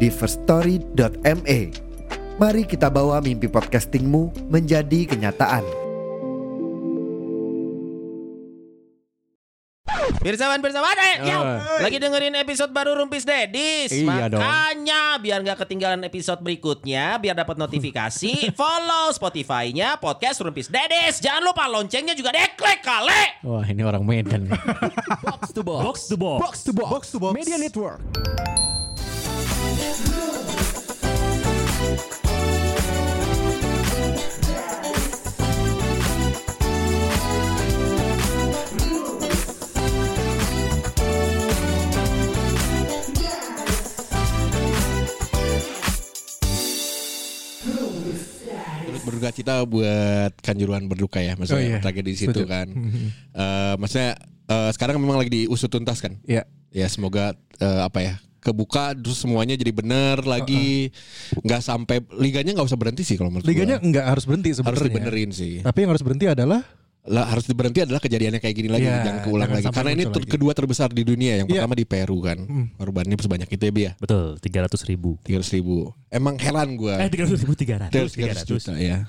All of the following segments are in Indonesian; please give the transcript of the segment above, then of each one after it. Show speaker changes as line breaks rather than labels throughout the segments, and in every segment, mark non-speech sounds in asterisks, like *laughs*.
di firststory.me. Mari kita bawa mimpi podcastingmu menjadi kenyataan.
Pirsawan pirsawan eh,
Oh.
ya, lagi dengerin episode baru Rumpis Dedis.
Iya dong.
Makanya biar nggak ketinggalan episode berikutnya, biar dapat
*laughs*
notifikasi, follow Spotify-nya podcast Rumpis Dedis. Jangan lupa loncengnya juga deklek kali.
Wah ini orang Medan nih.
Box to box. Box to box. Box to box. Media Network.
Turut berduka cita buat kanjuruan berduka ya maksudnya
Oh, iya.
tragedi di situ
Setuju. *laughs* Mhm.
kan Eh maksudnya eh, sekarang memang lagi diusut tuntas kan
Iya.
ya semoga eh, apa ya kebuka terus semuanya jadi bener lagi nggak sampai liganya nggak usah berhenti sih kalau menurut
Liganya
gua.
nggak harus berhenti
harus
sebenarnya.
dibenerin sih
Tapi yang harus berhenti adalah
lah harus diberhenti adalah kejadiannya kayak gini lagi
Iya,
jangan keulang
jangan
lagi
sampai
karena ini
muncul
ter-
lagi.
kedua terbesar di dunia yang
Iya.
pertama di Peru kan korbannya sebanyak itu ya Bi ya
Betul, 300 ribu.
tiga ribu emang heran
Eh,
gua
300 ribu, 300.
300 juta ya
300,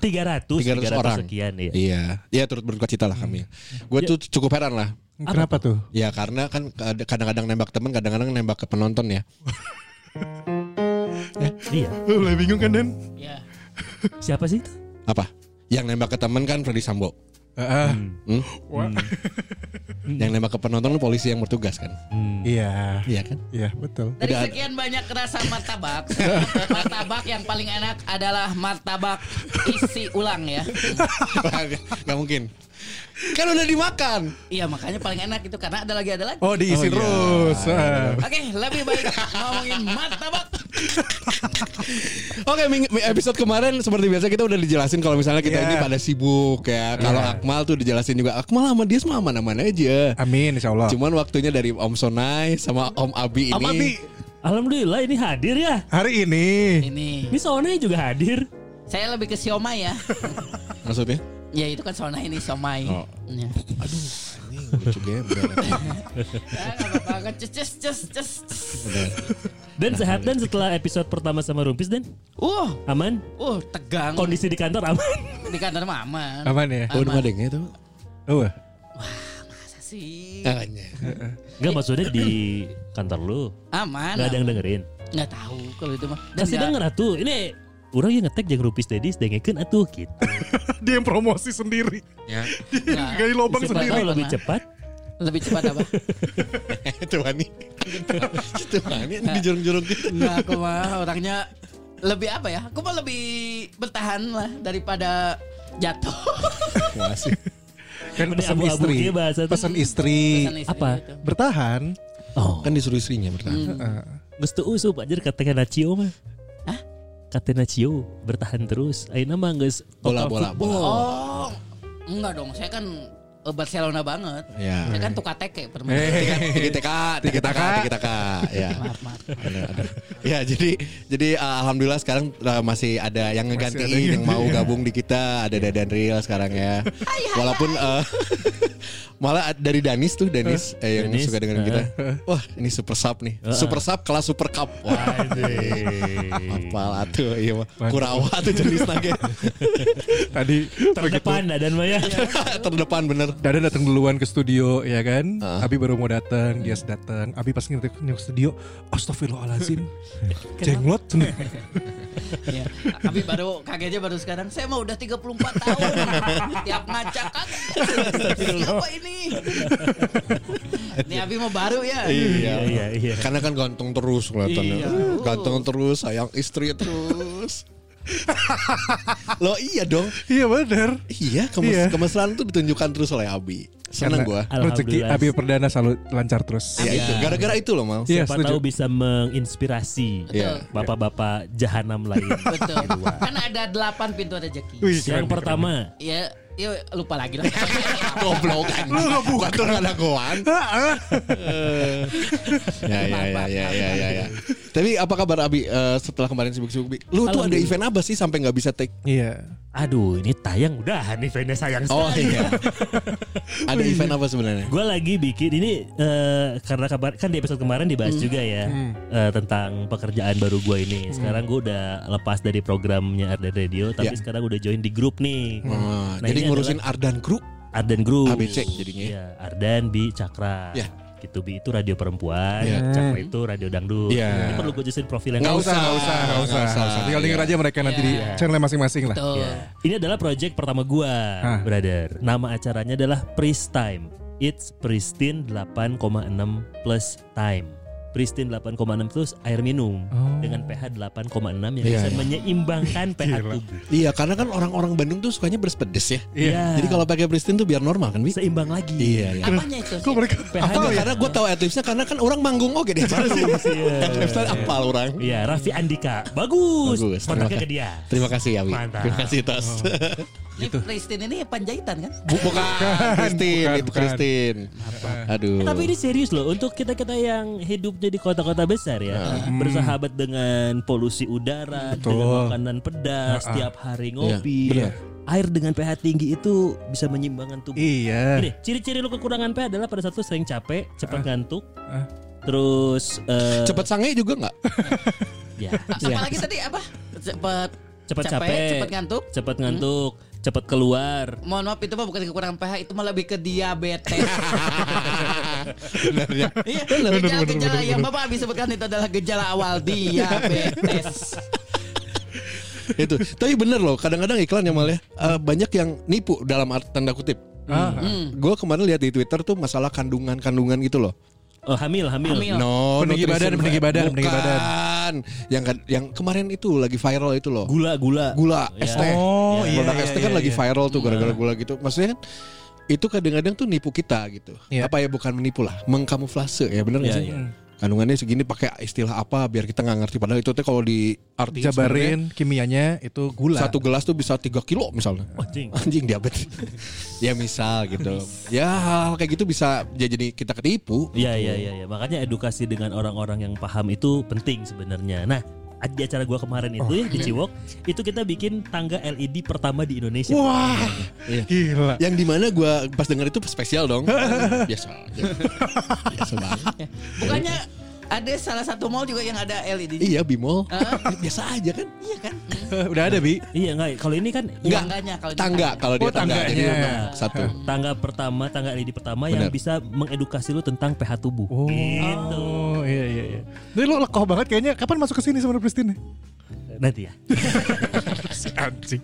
300 orang.
sekian ya.
Iya, ya turut berduka cita lah kami.
Hmm. Iya.
Gue tuh cukup heran lah.
kenapa tuh?
Ya karena kan kad- kadang-kadang nembak temen, kadang-kadang nembak ke penonton ya.
Iya.
Mulai bingung kan Den?
Siapa sih itu?
Apa? Yang nembak ke temen kan Freddy Sambo. Hmm?
Hmm.
Yang nembak ke penonton kan polisi yang bertugas kan.
Iya.
Iya kan?
Iya betul.
Dari
Udah.
sekian banyak rasa martabak,
*laughs*
martabak yang paling enak adalah martabak isi ulang ya.
Gak mungkin. Kan udah dimakan.
Iya makanya paling enak itu karena ada lagi ada lagi.
Oh
Oh,
diisi
iya.
terus. Ah.
Oke lebih baik ngomongin martabak.
Oke, ming- episode kemarin seperti biasa kita udah dijelasin kalau misalnya kita
Iya.
ini pada sibuk ya. Kalau Akmal tuh dijelasin juga Akmal sama dia mah aman-aman aja.
Amin insya Allah.
Cuman waktunya dari Om Sonai sama Om Abi ini.
Oh. Om Abi,
Alhamdulillah ini hadir ya.
hari ini
Ini
Ini Sony juga hadir.
saya lebih ke siomay ya.
Maksudnya?
Ya itu kan sauna ini siomay.
Oh.
Ya.
Aduh, anjing lucu gembel.
Ah, nggak apa-apa, Ces, ces, ces, ces, ces.
Dan sehat dan setelah episode pertama sama Rumpis dan
Uh,
aman.
uh tegang
Kondisi di kantor aman.
di kantor mama.
aman ya.
Oh, rumah dengnya itu.
Oh, wah.
Masa
Iya.
sih?
Eh,
Makanya.
Enggak maksudnya di kantor lu.
Aman.
Enggak ada yang dengerin.
Nggak tahu kalau itu mah. Dan ya.
Kasih
nggak-
denger atuh. Ini orang yang ngetek jeung Rumpis Dedis dengekeun atuh gitu.
Dia yang promosi sendiri.
Ya.
nggak.
Gali lobang
Siapa
sendiri.
tahu lebih cepat.
Lebih cepat apa?
Itu wani. Itu wani di jorong-jorong gitu.
Enggak, aku mah orangnya lebih apa ya? Aku mah lebih bertahan lah daripada jatuh.
Wah sih.
Kan
Udah
pesan
abu-abu
istri.
dia bahasa tuh.
Pesan istri.
*laughs* Pesan istri
Apa?
gitu. Mm.
Bertahan.
Oh,
Kan disuruh istrinya
Hmm.
bertahan.
Geus teu usup anjir katanya Nacio mah. Katanya Nacio bertahan terus. Ayeuna mah geus
Bola,
total
bola,
football.
Oh, enggak dong. Saya kan eh, Barcelona banget.
Ya.
Saya kan tukar teke
Tiga,
permen.
tiga TK, tiga TK, tiga TK. Ya.
Maaf, maaf.
Ada, ada. Ya jadi jadi uh, alhamdulillah sekarang uh, masih ada yang ngegantiin
ada yang
yang mau gabung di kita ada Dadan Real sekarang ya. Walaupun uh, *laughs* malah dari Danis tuh Danis eh, yang
Danis,
suka dengerin kita. Wah ini super sub nih. Super sub kelas super cup. Wah. Apal atuh iya mah. Kurawa tuh jenis nage.
Tadi
Gitu.
Terdepan nah, dan Maya.
*laughs* Terdepan bener.
Dada datang duluan ke studio ya kan. Abi baru mau datang, dia datang. Abi pas ngerti ke studio, astagfirullahalazim. Jenglot.
Ya. Tapi baru kagetnya baru sekarang. Saya mah udah 34 tahun. Tiap ngaca kaget. Siapa ini? Ini Abi mau baru ya.
Iya,
iya, iya.
Karena kan ganteng terus kelihatannya.
Iya.
Uh, Ganteng terus, sayang istri terus. Loh iya dong.
Iya benar.
Iya, kemes
Iya.
kemesraan tuh ditunjukkan terus oleh Abi. Seneng
Karena
gua.
Rezeki
Alhamdulillah.
Abi Perdana selalu lancar terus.
Ya itu, gara-gara itu loh Mal.
Iya,
Siapa
setuju.
tahu bisa menginspirasi
Iya. *laughs*
bapak-bapak jahanam lain.
Betul. Kan ada delapan pintu rezeki.
Wih, keren,
Yang pertama,
Ya, ya lupa lagi lah. Gitu.
Goblokan. Lu ngebuka tuh ada goan. Ya ya ya ya ya ya. ya. Tapi apa kabar Abi eh, setelah kemarin sibuk-sibuk? Bi? Lu tuh ada
Alhamdulillah.
event apa sih sampai nggak bisa take?
keren. Iya.
aduh ini tayang udah nih Vene sayang sekali.
Oh
*laughs*
iya. ada event apa sebenarnya?
Gue lagi bikin ini eh, karena kabar kan di episode kemarin dibahas juga ya eh, tentang pekerjaan baru gue ini. Sekarang gue udah lepas dari programnya Arden Radio, tapi
Ya.
sekarang udah join di grup nih.
Oh,
Nah,
jadi
ini
ngurusin Ardan Crew.
Arden Group.
ABC jadinya ya.
Iya, Ardan Bi Cakra.
Ya.
Gitu Bi itu radio perempuan,
Ya.
Cakra itu radio dangdut.
Ya.
Ini perlu gue jelasin profil yang kamu.
Nggak
Gak usah, gak usah, gak usah.
Nggak usah.
Nggak usah. Tinggal denger aja mereka nanti di channel masing-masing lah.
Betul.
Ini adalah project pertama gua,
Hah.
brother. Nama acaranya adalah Priest Time. It's Pristine 8,6 plus time. Pristine 8,6 plus air minum dengan pH 8,6 yang bisa menyeimbangkan pH tubuh.
Iya, karena kan orang-orang Bandung tuh sukanya berpedes ya.
Iya.
Jadi kalau pakai Pristin tuh biar normal kan, Bi?
seimbang lagi.
Iya, ya? iya.
Apanya itu? sih?
Kok mereka
pH
Enggak, karena gue tahu Adlibsnya karena kan orang manggung oke deh. *laughs* Adlibsnya apal orang.
Iya, Raffi Andika. Bagus.
Bagus, terima
Kontaknya
kasih.
ke dia.
Terima kasih ya, Wi.
Mantap.
Terima kasih Tos.
Ini Christine ini panjaitan kan?
*laughs* Bu- bukan, Christine,
bukan,
itu
bukan.
Christine. Aduh.
Eh, Tapi ini serius loh untuk kita-kita yang hidupnya di kota-kota besar ya, bersahabat dengan polusi udara,
Hmm. Betul. Ah,
dengan makanan pedas, tiap hari ngopi.
benar.
Air dengan pH tinggi itu bisa menyeimbangkan tubuh.
Iya.
Ini ciri-ciri lu kekurangan pH adalah pada saat lu sering capek, cepat ngantuk,
Ah.
terus eh,
Cepet sange juga
*laughs*
nggak?
*laughs*
ya,
Apalagi tadi apa? Cepat
cepat capek,
cepat ngantuk. Hmm.
cepat ngantuk, cepat keluar.
Mohon maaf itu mah bukan kekurangan pH, itu mah lebih ke diabetes.
Benar ya.
Iya, gejala-gejala yang Bapak habis sebutkan itu adalah gejala awal diabetes.
itu. Tapi bener loh, kadang-kadang iklan ya malah banyak yang nipu dalam art- tanda kutip.
Ah.
Hmm.
Gue kemarin lihat di Twitter tuh masalah kandungan-kandungan gitu loh.
Oh, hamil, hamil.
Hamil.
No,
Peninggi
nutrition
badan,
fact.
peninggi badan,
Bukan.
peninggi badan.
Yang kan- yang kemarin itu lagi viral itu loh.
Gula, gula.
Gula,
Iya. Hmm.
ST.
Oh, iya,
Produk
iya,
ST kan
iya,
lagi
iya.
viral tuh gara-gara gula gitu. Maksudnya kan itu kadang-kadang tuh nipu kita gitu.
Iya.
Apa ya bukan menipu lah, mengkamuflase ya bener nggak
Iya,
sih?
iya.
Kandungannya segini pakai istilah apa biar kita nggak ngerti padahal itu tuh kalau di
Iya.
arti
Jabarin kimianya itu gula.
satu gelas tuh bisa 3 kilo misalnya.
Anjing.
Anjing
*laughs*
diabetes. ya misal gitu. Ya hal kayak gitu bisa ya jadi kita ketipu.
Iya iya iya ya. makanya edukasi dengan orang-orang yang paham itu penting sebenarnya. Nah di acara gua kemarin
Oh.
itu ya di Ciwok itu kita bikin tangga LED pertama di Indonesia.
Wah,
Iya.
gila.
Yang dimana gue pas denger itu spesial
*laughs*
dong. Biasa aja. Biasa banget.
Bukannya ada salah satu mall juga yang ada E LED.
Iya Bimol. Biasa aja kan.
Iya kan?
*laughs* Udah ada bi.
Iya nggak? Kalau ini kan
Enggak.
Tangganya kalau di
Tangga kalau dia
Oh,
tangga. Jadi
tangganya.
enam,
*laughs*
satu.
Gitu. tangga pertama tangga LED pertama yang
Benar.
bisa mengedukasi lu tentang pH tubuh.
Oh.
Gitu.
Oh iya iya iya. Jadi lu lekoh banget kayaknya. Kapan masuk ke sini sama Pristin?
Nanti ya.
Si anjing.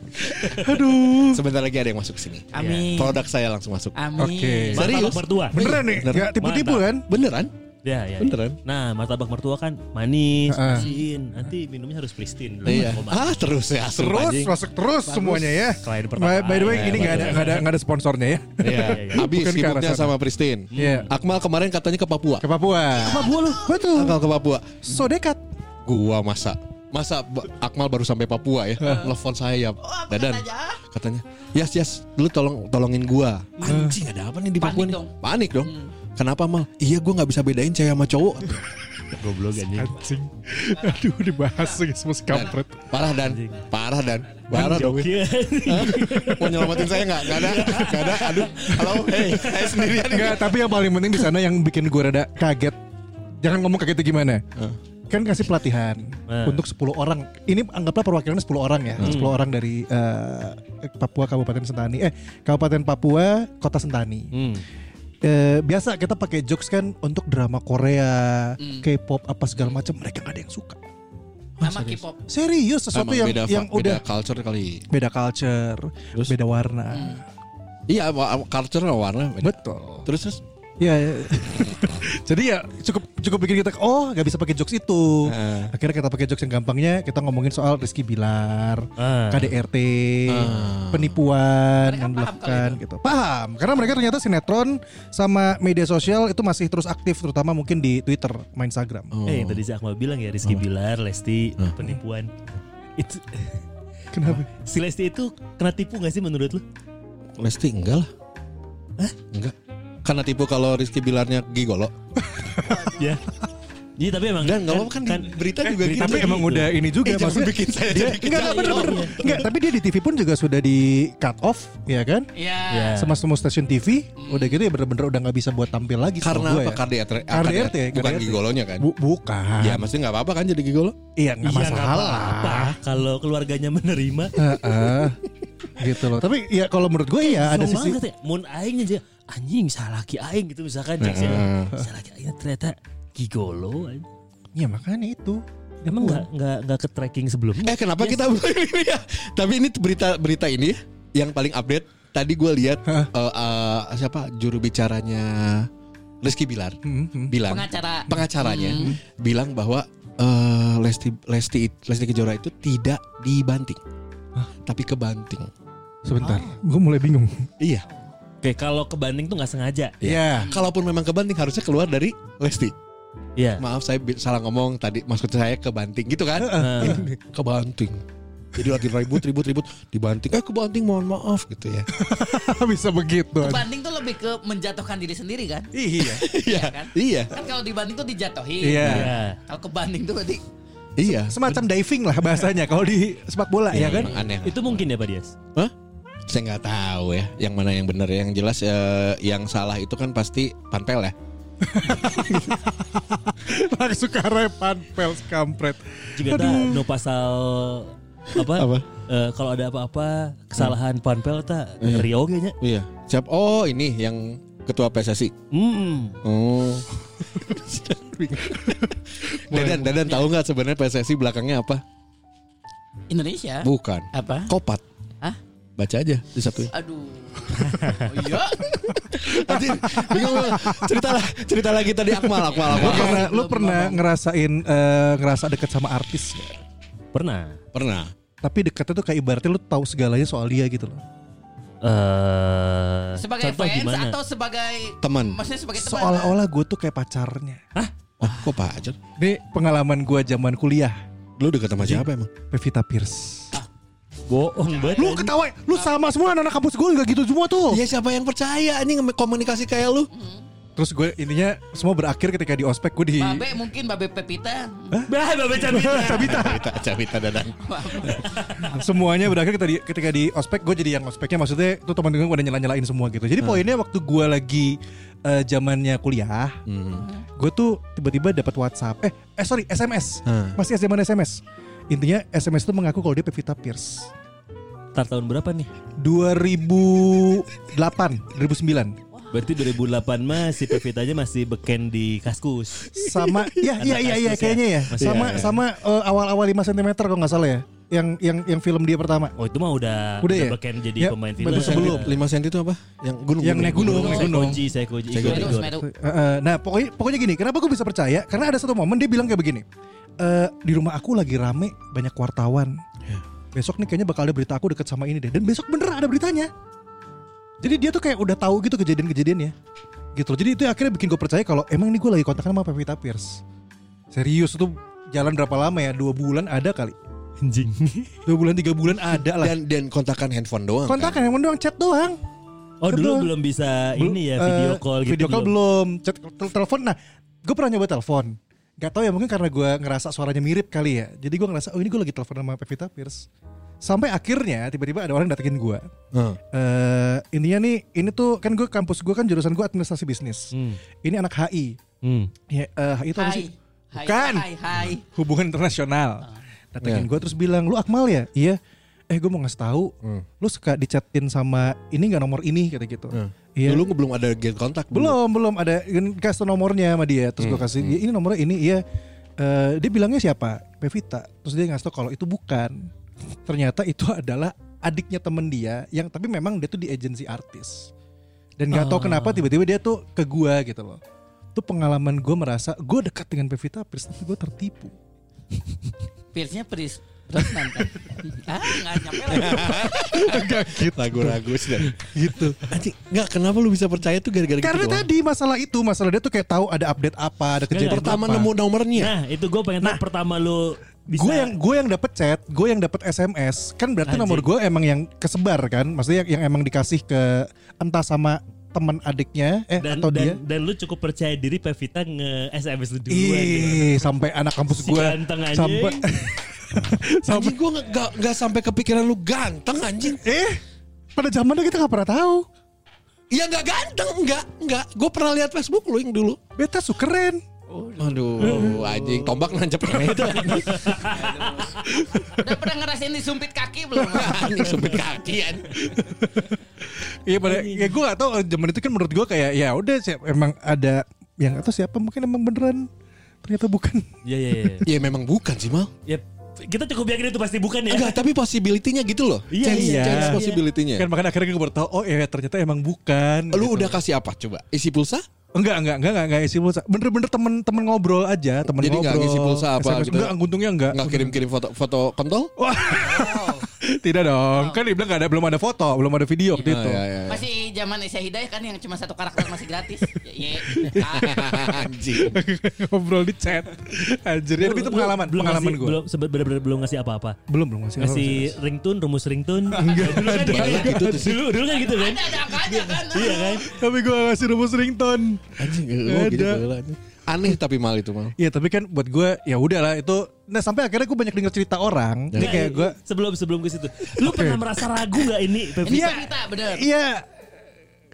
Aduh.
Sebentar lagi ada yang masuk sini.
Amin.
Produk saya langsung masuk.
Amin.
Oke.
Serius?
Martabak mertua.
Beneran nih?
Bener.
Gak tipu-tipu kan?
Beneran?
Ya, ya, ya.
Beneran.
Nah, martabak mertua kan manis,
Heeh.
bersihin. Nanti minumnya harus pristine. Delapan
Iya.
koma.
Ah terus ya seru
Terus
anjing.
masuk terus semuanya ya.
Klien pertama.
By, by the way,
Ya,
ini nggak ada
bagus.
nggak ada nggak ada sponsornya ya.
Iya. Habis
Bukan ke arah
sibuknya
sana.
sama Pristin.
Iya.
Akmal kemarin katanya ke Papua.
Ke Papua. Papua lu. Betul.
Akmal ke Papua.
So dekat.
Gua masa masa Ba- Akmal baru sampai Papua ya. Telepon saya ya.
Oh, apa
Dadan.
katanya?
Katanya, "Yes, yes, lu tolong tolongin gua." Anjing ada apa nih di Papua
Panik
nih?
dong.
Panik dong. Kenapa mal? Iya gua nggak bisa bedain cewek sama
*laughs*
cowok.
Goblok anjing.
Anjing. Aduh dibahas lagi semua si kampret.
Parah dan, parah dan, parah dong.
Iya.
Mau nyelamatin saya nggak? Gak ada, gak ada. Aduh, halo, hey, saya sendirian.
Enggak, tapi yang paling penting di sana yang bikin gue rada kaget. Jangan ngomong kagetnya gimana. Kan kasih pelatihan
Nah.
Eh.
untuk 10 orang. Ini anggaplah perwakilannya 10 orang ya.
Hmm.
10 orang dari eh, Papua Kabupaten Sentani. Eh, Kabupaten Papua, Kota Sentani.
Hmm.
Eh, biasa kita pakai jokes kan untuk drama Korea,
Hmm.
K-pop apa segala macam mereka nggak ada yang suka.
Nama K-pop.
Serius sesuatu
Emang
yang
beda,
yang
beda
udah
culture kali.
beda culture, beda warna.
Hmm. Iya, wa- culture sama warna. Beda.
Betul.
Terus terus
Ya, *laughs* ya. jadi ya cukup cukup bikin kita oh nggak bisa pakai jokes itu.
Heeh.
Akhirnya kita pakai jokes yang gampangnya kita ngomongin soal Rizky Bilar,
Ah.
KDRT, penipuan,
Mereka paham
memblafkan gitu. Paham karena mereka ternyata sinetron sama media sosial itu masih terus aktif terutama mungkin di Twitter, main Instagram.
Oh,
Eh yang tadi si Akmal bilang ya Rizky Bilar, Lesti, penipuan. Itu
Kenapa?
si Lesti itu kena tipu gak sih menurut lu?
Lesti enggak lah. Enggak. Karena tipu kalau Rizky Bilarnya gigolo.
*laughs* ya. Jadi tapi emang
Dan enggak apa-apa kan, di berita juga gitu.
Tapi emang
gitu.
udah ini juga
Eh, jangan
maksudnya.
bikin saya
Dia,
jadi
enggak, enggak, bener, bener. Enggak, tapi dia di TV pun juga sudah di cut off, ya kan?
Iya.
Ya.
Sama semua stasiun TV, udah gitu ya bener-bener udah nggak bisa buat tampil lagi. setahu
Karena
gua
apa?
ya.
KDRT.
KDRT,
Bukan
KDRT.
gigolonya kan?
Bu- bukan.
Ya maksudnya nggak apa-apa kan jadi gigolo?
Iya nggak
Iya, nggak
masalah.
apa-apa. Kalau keluarganya menerima
Heeh. gitu loh. Tapi ya kalau menurut gue ya ada
Seneng
sisi
banget ya. Mun aing aja anjing salah laki aing gitu misalkan cek sih. Salah laki aing ternyata gigolo. anjing.
ya makanya itu.
Emang nggak nggak nggak ke tracking sebelumnya?
Eh kenapa kita *laughs* ini ya? Tapi ini berita berita ini ya, yang paling update. Tadi gue lihat eh, eh, siapa juru bicaranya Rizky Bilar bilang
Pengacara.
pengacaranya bilang bahwa eh, Lesti Lesti Lesti Kejora itu tidak dibanting, tapi kebanting.
Sebentar, gue mulai bingung. *laughs*
Iya.
Oke, kalau kebanding tuh nggak sengaja.
Ya.
Kalaupun memang kebanting harusnya keluar dari Lesti.
Iya.
Maaf saya bi- salah ngomong tadi maksud saya kebanting gitu kan? Ini kebanting. Jadi lagi ribut ribut ribut dibanting. Eh kebanting mohon maaf gitu ya.
Bisa begitu.
Banding tuh lebih ke menjatuhkan diri sendiri kan?
Iya.
Iya.
kan?
Iya.
Kan kalau dibanding tuh dijatuhin.
Iya.
Iya.
Kalau kebanding tuh berarti
Iya.
Semacam diving lah bahasanya kalau di sepak bola ya kan? *laughs*
Emang aneh.
Itu mungkin ya Pak Dias.
Hah? Saya nggak tahu ya, yang mana yang benar yang jelas eh, yang salah itu kan pasti panpel ya.
Langsung ke arah panpel kampret.
Jika tak no pasal apa?
Apa?
eh, kalau ada apa-apa kesalahan panpel tak Rio kayaknya.
Iya. Siap. Oh ini yang ketua PSSI.
Hmm.
Oh. *laughs* Dadan, Dadan tahu nggak sebenarnya PSSI belakangnya apa?
Indonesia.
Bukan.
Apa?
Kopat.
Hah?
Baca aja di Sabtu.
Aduh. Oh, iya.
Anjing, bingung gua. cerita lah, cerita lagi tadi Akmal, Akmal,
Lu
Akmal.
pernah, lu
belum
pernah ngerasain eh, ngerasa deket sama artis nggak?
Pernah.
Pernah.
Tapi deketnya tuh kayak ibaratnya lu tahu segalanya soal dia gitu loh.
Eh,
Sebagai
contoh
fans
gimana?
atau sebagai
Teman.
maksudnya
Iya,
sebagai teman.
Seolah-olah gue tuh kayak pacarnya.
Oh, kok Pak Ajat?
Ini pengalaman gue zaman kuliah.
Lu deket sama siapa emang?
Pevita Pierce.
bohong banget.
Lu ketawa, lu sama semua anak-anak kampus gue juga gitu semua tuh.
Iya siapa yang percaya anjing komunikasi kayak lu?
Terus gue intinya semua berakhir ketika di ospek gue di
Babe mungkin Babe Pepita.
Bah, Babe *laughs* Cabita.
Cabita, Cabita, Cabita Dadan.
*laughs* semuanya berakhir ketika di, ketika di ospek gue jadi yang ospeknya maksudnya tuh teman teman gue udah nyela nyelain semua gitu. Jadi poinnya waktu gue lagi eh, zamannya kuliah, gue tuh tiba-tiba dapat WhatsApp, eh eh sorry SMS,
Hmm.
masih zaman SMS. Intinya SMS tuh mengaku kalau dia Pevita Pierce.
Tar tahun berapa nih?
2008, 2009
Berarti 2008 mah si Pevitanya masih beken di kaskus.
*laughs* sama ya iya
Anak
iya iya
kasus ya.
kayaknya ya
Masih
sama
ada.
sama eh, awal-awal 5 cm kalau nggak salah ya yang yang yang film dia pertama
Oh itu mah udah
Udah ya?
beken jadi
Ya,
pemain
baru
film.
sebelum.
Lima
5 cm itu apa? Yang gunung.
Yang naik gunung, naik
saya kunci, saya kunci. Iya,
Saya
Igor,
kunci.
Igor.
Semeru.
Eh, eh, nah pokoknya pokoknya gini kenapa gue bisa percaya karena ada satu momen dia bilang kayak begini "Eh, di rumah aku lagi rame banyak wartawan besok nih kayaknya bakal ada berita aku deket sama ini deh dan besok bener ada beritanya jadi dia tuh kayak udah tahu gitu kejadian-kejadiannya gitu loh. jadi itu yang akhirnya bikin gue percaya kalau emang ini gue lagi kontakkan sama Pevita Pierce serius itu jalan berapa lama ya dua bulan ada kali
Anjing.
dua bulan tiga bulan ada lah
Dan dan kontakan handphone doang.
kontakan yang doang chat doang
Oh dulu
Betul.
belum bisa
Bel-
ini ya
eh,
video call gitu.
video call belum chat tel- telepon nah gue pernah nyoba telepon Gak tau ya mungkin karena gue ngerasa suaranya mirip kali ya Jadi gue ngerasa oh ini gue lagi telepon sama Pevita Pierce Sampai akhirnya tiba-tiba ada orang datengin gue
Heeh.
Eh Intinya nih ini tuh kan gue kampus gue kan jurusan gue administrasi bisnis
Hmm.
Ini anak HI
Hmm.
ya, eh, HI itu apa
Hai.
sih?
Hai.
Bukan.
Hai, hai.
hubungan internasional.
Ya.
Datengin gue terus bilang lu Akmal ya? Iya. Eh gue mau ngasih tahu,
Hmm.
lu suka dicatin sama ini nggak nomor ini kata gitu.
Hmm.
Iya.
Dulu belum ada get kontak.
belum belum ada kan kasih tau nomornya sama dia. Terus gue kasih "Ya, ini nomornya ini iya. Eh, dia bilangnya siapa? Pevita. Terus dia ngasih tau kalau itu bukan. Ternyata itu adalah adiknya temen dia yang tapi memang dia tuh di agensi artis. Dan gak tau kenapa tiba-tiba dia tuh ke gua gitu loh. Itu pengalaman gua merasa gua dekat dengan Pevita Pierce tapi gua tertipu.
Pierce-nya Pris. Brosnan kan? *laughs* ah, nggak nyampe lagi.
Ragu-ragu sudah. gitu. Anjing, enggak kenapa lu bisa percaya tuh gara-gara
Karena
gitu doang?
tadi masalah itu, masalah dia tuh kayak tahu ada update apa, ada
Yang
kejadian
pertama
apa.
nemu nomornya.
Nah, itu gue pengen tahu pertama lu bisa
Gue Iya. yang gue yang dapet chat, gue yang dapet SMS, kan berarti
Anjing.
nomor gue emang yang kesebar kan, maksudnya yang, yang emang dikasih ke entah sama teman adiknya, eh
dan,
atau dia.
dan, dan lu cukup percaya diri Pevita nge SMS lu
Iya.
duluan. gitu.
Ih, sampai anak kampus
Si
gue,
ganteng anjing.
sampai *laughs*
Anjing gua nggak- nggak nggak sampai kepikiran lu ganteng anjing.
eh pada zamannya kita nggak pernah tahu.
Iya nggak ganteng, nggak nggak. Gue pernah lihat Facebook lu yang dulu. Hmm.
Beta su keren.
Aduh, anjing tombak nancep itu.
Udah pernah ngerasain disumpit kaki belum?
Anjing sumpit kaki anjing.
Iya pada ya gue gak tau zaman itu kan menurut gue kayak ya udah siap emang ada yang atau siapa mungkin emang beneran ternyata bukan.
Iya iya iya.
Ya memang bukan sih mal.
Ya, kita cukup yakin itu pasti bukan ya.
Enggak, tapi possibility-nya gitu loh.
Iya,
chance,
iya.
chance
Iya.
possibility-nya.
Kan makanya akhirnya gue baru tahu oh ya ternyata emang bukan.
Lu
gitu.
udah kasih apa coba? Isi pulsa?
enggak enggak enggak enggak, enggak isi pulsa. Bener-bener temen-temen ngobrol aja, temen
Jadi
ngobrol.
nggak ngisi pulsa apa
SMS.
gitu?
Enggak, untungnya enggak.
Nggak Oh, kirim-kirim foto foto kontol?
Wah. *laughs* Tidak dong. Kan dibilang enggak ada belum ada foto, belum ada video waktu itu.
Ah, iya, *laughs* iya.
Masih zaman Isya Hidayah kan yang cuma satu karakter masih gratis. Iya.
Anjing.
*laughs* ngobrol di chat. Anjir, ya, tapi
Lu-
itu
lu
pengalaman,
belum
pengalaman
ngasih-
gue.
Belum sebe- bener-bener belum ngasih apa-apa.
Belum belum ngasih.
Ngasih ringtone, rumus
*laughs*
ringtone. Enggak. Dulu kan gitu
Banyak
ya.
gitu tuh sih.
Dulu dulu kan gitu kan.
Ada ada angkanya kan?
Iya kan?
Tapi gue ngasih rumus ringtone.
Anjing, oh, gitu,
Ada.
gila. Aneh tapi mal itu mal.
Iya tapi kan buat gue ya udahlah itu. Nah sampai akhirnya gue banyak denger cerita orang.
Ya.
Jadi
Nggak,
kayak gue
Nah, sebelum sebelum ke situ. Lu pernah merasa ragu nggak ini
Ini
Pevita?
cerita bener.
iya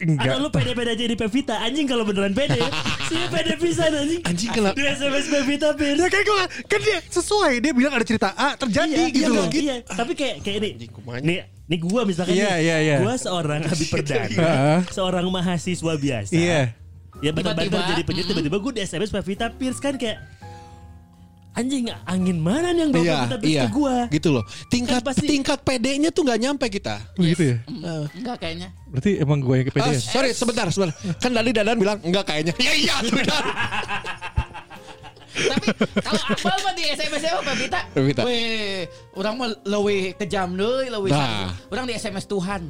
enggak.
Atau lu pede-pede aja di Pevita anjing kalau beneran pede. Lu pede pisan anjing.
Anjing, kenapa-
Di SMS Pevita Pir.
Ya kan gue kan dia sesuai dia bilang ada cerita A terjadi
Iya,
gitu
iya,
loh.
Iya, tapi kayak kayak ini.
kumanya.
Nih, nih gua misalkan
Iya,
nih,
iya, *laughs* iya.
gua seorang abdi
Heeh.
perdana, seorang mahasiswa biasa.
Iya.
Ya banter-banter
Tiba-tiba,
jadi penyiar tiba-tiba gue di SMS Pevita Pierce kan kayak anjing angin mana nih yang bawa
Iya,
Pevita Pierce
iya.
ke gua.
Gitu loh. Tingkat
Kan pasti-
tingkat PD-nya tuh nggak nyampe kita.
Begitu ya.
Hmm, Enggak kayaknya.
Berarti emang gue yang
Ah,
kepedean.
sorry, sebentar, sebentar. Kan tadi Dadan bilang enggak kayaknya. Ya iya, sudah.
Tapi kalau Akmal mah di SMS apa Pevita?
Pevita.
Weh, orang mah leuwih kejam deui, leuwih
Nah.
sakit. Orang di SMS Tuhan.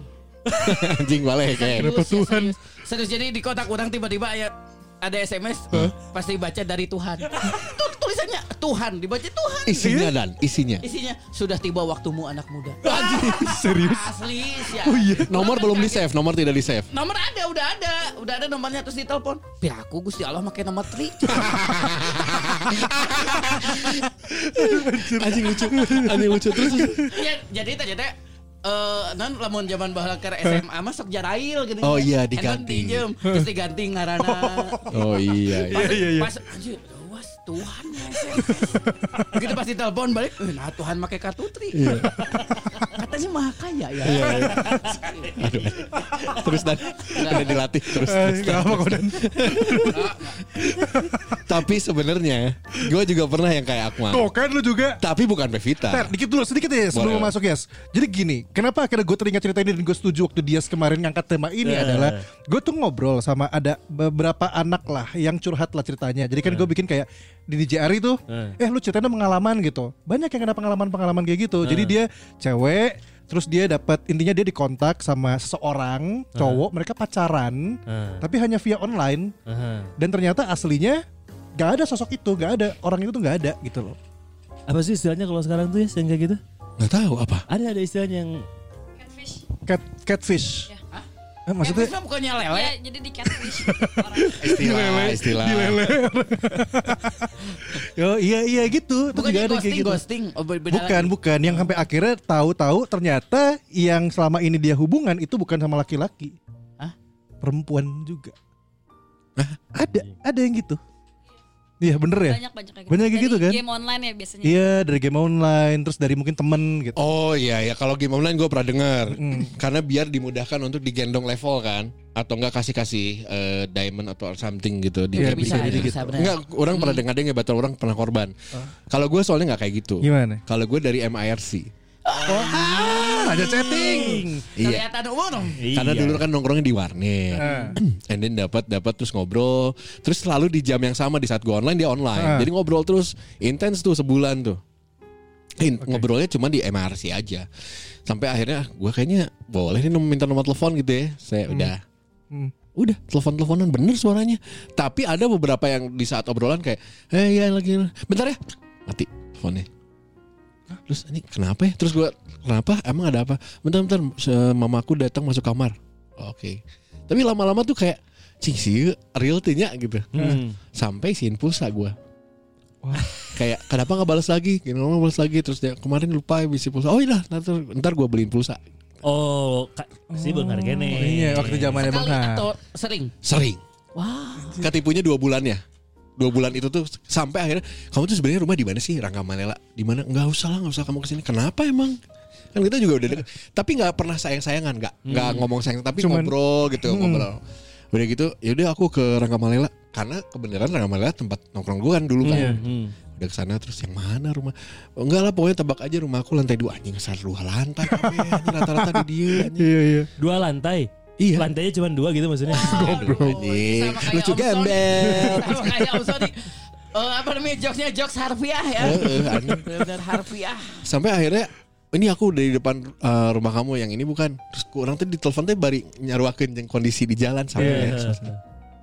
*laughs* Anjing balik kayak.
Kenapa
Serius, ya,
Tuhan?
serius. Serius jadi di kotak orang tiba-tiba ya ada SMS pasti baca dari Tuhan. Tuh tulisannya Tuhan dibaca Tuhan.
Isinya dan isinya.
Isinya sudah tiba waktumu anak muda.
Serius?
Asli sih. ya.
Oh iya.
Nomor belum
Orang kan
di
kaget.
save, nomor tidak di save.
Nomor ada, udah ada, udah ada nomornya terus ditelepon. Ya aku Gusti Allah pakai nomor
*laughs*
tri.
Anjing lucu, anjing lucu terus.
ya, jadi ternyata eh non lamun zaman bahala ke SMA mah sok jarail gini.
Oh iya,
Enten
diganti.
Pinjem, terus diganti ngarana.
Oh iya. iya.
Pas, pas anjir, was Tuhan ya SMS. Begitu Gitu pas ditelepon balik, eh, nah Tuhan pakai kartu tri.
Iya.
Katanya maha kaya ya.
Aduh, aduh. Terus dan udah dilatih terus. terus,
Eh,
Dan.
Kenapa kau dan?
Tapi sebenarnya gue juga pernah yang kayak Akmal.
Tuh kan lu juga.
Tapi bukan Pevita.
Ter, dikit dulu sedikit ya sebelum
Boleh.
masuk Yes. Jadi gini, kenapa akhirnya gue teringat cerita ini dan gue setuju waktu Dias kemarin ngangkat tema ini
Eh.
adalah gue tuh ngobrol sama ada beberapa anak lah yang curhat lah ceritanya. Jadi kan gue bikin kayak di DJRI tuh, eh lu ceritain dong pengalaman gitu. Banyak yang ada pengalaman-pengalaman kayak gitu. Jadi dia cewek, terus dia dapat intinya dia dikontak sama seseorang cowok, mereka pacaran,
Eh.
tapi hanya via online
Aha.
dan ternyata aslinya gak ada sosok itu, gak ada orang itu tuh gak ada gitu loh.
Apa sih istilahnya kalau sekarang tuh ya yang kayak gitu?
Nggak tahu apa.
Ada ada istilahnya yang
catfish
Cat, catfish.
Ya.
Eh, maksudnya
Maksudnya bukannya lele.
ya jadi di catfish orang
Istilah, istilah.
Yo, iya iya gitu. Itu
Bukannya
juga ada kayak
ghosting,
gitu.
ghosting. Oh, beda lagi.
Bukan, bukan. Yang sampai akhirnya tahu-tahu ternyata yang selama ini dia hubungan itu bukan sama laki-laki.
Hah?
Perempuan juga. Ada, ada yang gitu. Iya bener ya.
banyak banyak kayak gitu.
Banyak kayak
Dari
gitu kan?
game online ya biasanya
Iya dari game online, terus dari mungkin temen gitu.
Oh iya ya kalau game online gue pernah dengar
Hmm.
karena biar dimudahkan untuk digendong level kan atau enggak kasih kasih diamond atau something gitu di
Iya,
game bisa,
bisa, bisa,
gitu.
bisa, benar. Hmm.
Enggak orang pernah dengar dia ngebatal orang pernah korban. Kalau gue soalnya nggak kayak gitu.
Gimana?
Kalau gue dari MIRC.
Ah,
Wah, raja chatting.
Iya.
Kelihatan umur dong.
Karena dulu kan nongkrongnya di warnet.
Eh.
*clears throat* And then dapat dapat terus ngobrol. Terus selalu di jam yang sama di saat gue online dia online.
Ah.
Jadi ngobrol terus intens tuh sebulan tuh. In- Ngobrolnya cuma di MRC aja. Sampai akhirnya gue kayaknya boleh nih nom- minta nomor telepon gitu ya. Saya udah
Hmm.
udah telepon-teleponan bener suaranya. Tapi ada beberapa yang di saat obrolan kayak eh ya lagi bentar ya mati teleponnya. Terus ini kenapa ya? Terus gue kenapa? Emang ada apa? Bentar-bentar se- mamaku datang masuk kamar. Oke. Tapi lama-lama tuh kayak cing sih real tuh nya," gitu. Sampai sin pulsa gue. kayak kenapa nggak balas lagi? Kenapa nggak balas lagi? Terus dia kemarin lupa isi pulsa. Oh iya, ntar, ntar gue beliin pulsa.
Oh, ka- sih ya. benar gini.
Iya, waktu zamannya Bang.
Kali
kan.
atau sering.
Sering. Wah. Ketipunya dua bulan ya. Dua bulan itu tuh sampai akhirnya kamu tuh sebenarnya rumah di mana sih Rangkamanela? Di mana? Enggak usah lah, enggak usah kamu kesini. Kenapa emang? Kan kita juga udah deket. Tapi nggak pernah sayang-sayangan, nggak nggak ngomong sayang, tapi
Cuman-
ngobrol gitu, ngobrol. Udah gitu, yaudah aku ke Rangkamalela karena kebenaran Rangkamalela tempat nongkrong gue kan dulu kan.
Iya. Hmm.
Udah kesana terus yang mana rumah? Oh, enggak lah, pokoknya tebak aja rumah aku lantai dua anjing, satu dua lantai. kabeh, anjing, Rata-rata di dia. anjing.
Iya, iya.
Dua lantai.
Iya.
Lantainya cuma dua gitu
*laughs*
maksudnya.
Goblok.
Ini sama kayak
Lucu
Om Sony.
gembel.
Sama kayak Om Sony. Eh, apa namanya jokesnya jokes harfiah ya.
Heeh, anjing.
Benar-benar harfiah.
sampai akhirnya ini aku udah di depan uh, rumah kamu yang ini bukan terus ku- orang tadi ditelepon teh bari nyaruakeun jeung kondisi di jalan sama
Iya.
Iya.
ya.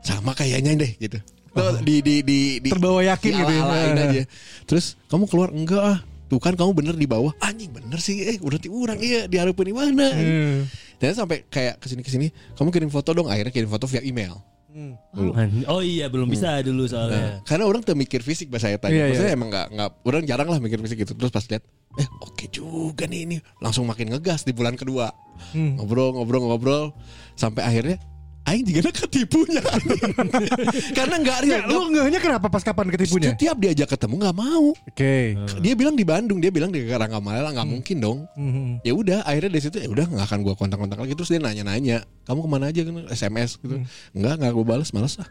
sama kayaknya deh gitu Tuh, di di di, di
Oh. Terbawa yakin
Iya,
gitu ya.
diala-alain aja terus kamu keluar enggak ah tuh kan kamu bener di bawah anjing bener sih eh udah ti urang iya diharapin di mana
Hmm.
dan sampai kayak kesini kesini kamu kirim foto dong akhirnya kirim foto via email
Oh iya, belum bisa dulu soalnya.
karena orang tuh mikir fisik bahasa saya tadi.
Iya,
Maksudnya emang nggak nggak orang jarang lah mikir fisik gitu. Terus pas lihat, eh oke juga nih ini langsung makin ngegas di bulan kedua.
Hmm.
Ngobrol ngobrol ngobrol sampai akhirnya Aing juga ketipunya anjing. *laughs* Karena nggak real
Nggak, Lu ngehnya kenapa pas kapan ketipunya?
Setiap diajak ketemu nggak mau
Oke.
Dia bilang di Bandung Dia bilang di Karangamalela
Hmm.
nggak mungkin dong
Mhm.
ya udah akhirnya dari situ ya udah nggak akan gua kontak-kontak lagi terus dia nanya-nanya kamu kemana aja kan sms
Hmm.
gitu nggak nggak gue balas malas lah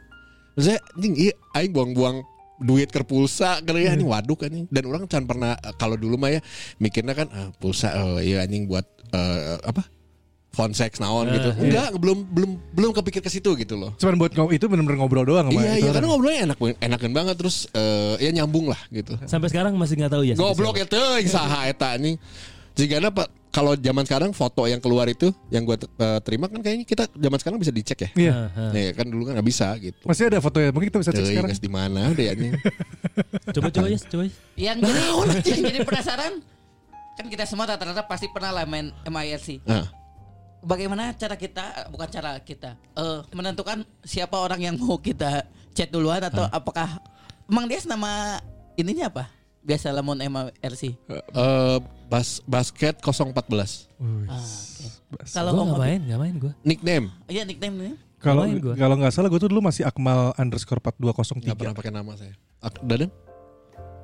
maksudnya ah." anjing iya aing buang-buang duit ke pulsa karena ya
Hmm.
anjing waduk anjing dan orang can pernah eh, kalau dulu mah ya mikirnya kan ah, pulsa eh, iya anjing buat eh, apa fonseks
Ah,
naon gitu
iya.
enggak belum belum belum kepikir ke situ gitu loh
Cuman buat ngom- itu bener-bener ngobrol doang sama
Iya,
itu
iya
orang.
karena ngobrolnya enak banget- enakan banget terus eh, ya nyambung lah gitu.
Sampai sekarang masih nggak tahu
Iya,
ya. sampai
Goblok itu saha eta anjing. Jigana Pak kalau zaman sekarang foto yang keluar itu yang gua eh, terima kan kayaknya kita zaman sekarang bisa dicek ya.
Iya.
Nah.
Nih, kan dulu kan nggak bisa gitu.
Masih ada fotonya, mungkin kita bisa cek
Teuing,
sekarang.
geus di mana deh
*laughs*
anjing.
sekarang. Coba coba ya, coba. Yes.
Yang jadi, yang jadi penasaran kan kita semua rata-rata pasti pernah lah main MIRC.
Nah,
Bagaimana cara kita bukan cara kita eh, menentukan siapa orang yang mau kita chat duluan atau apakah Mang Dias nama ininya apa? Biasa lamun MIRC.
eh, bas basket 014.
Ah, oke.
Gua
Kalau Om
nggak main, nggak main gue.
Nickname
Iya nickname-nya.
Kalau
Main gua.
kalau nggak salah gue tuh dulu masih Akmal underscore
nggak pernah
4203.
pakai nama saya. Ak- Dadang?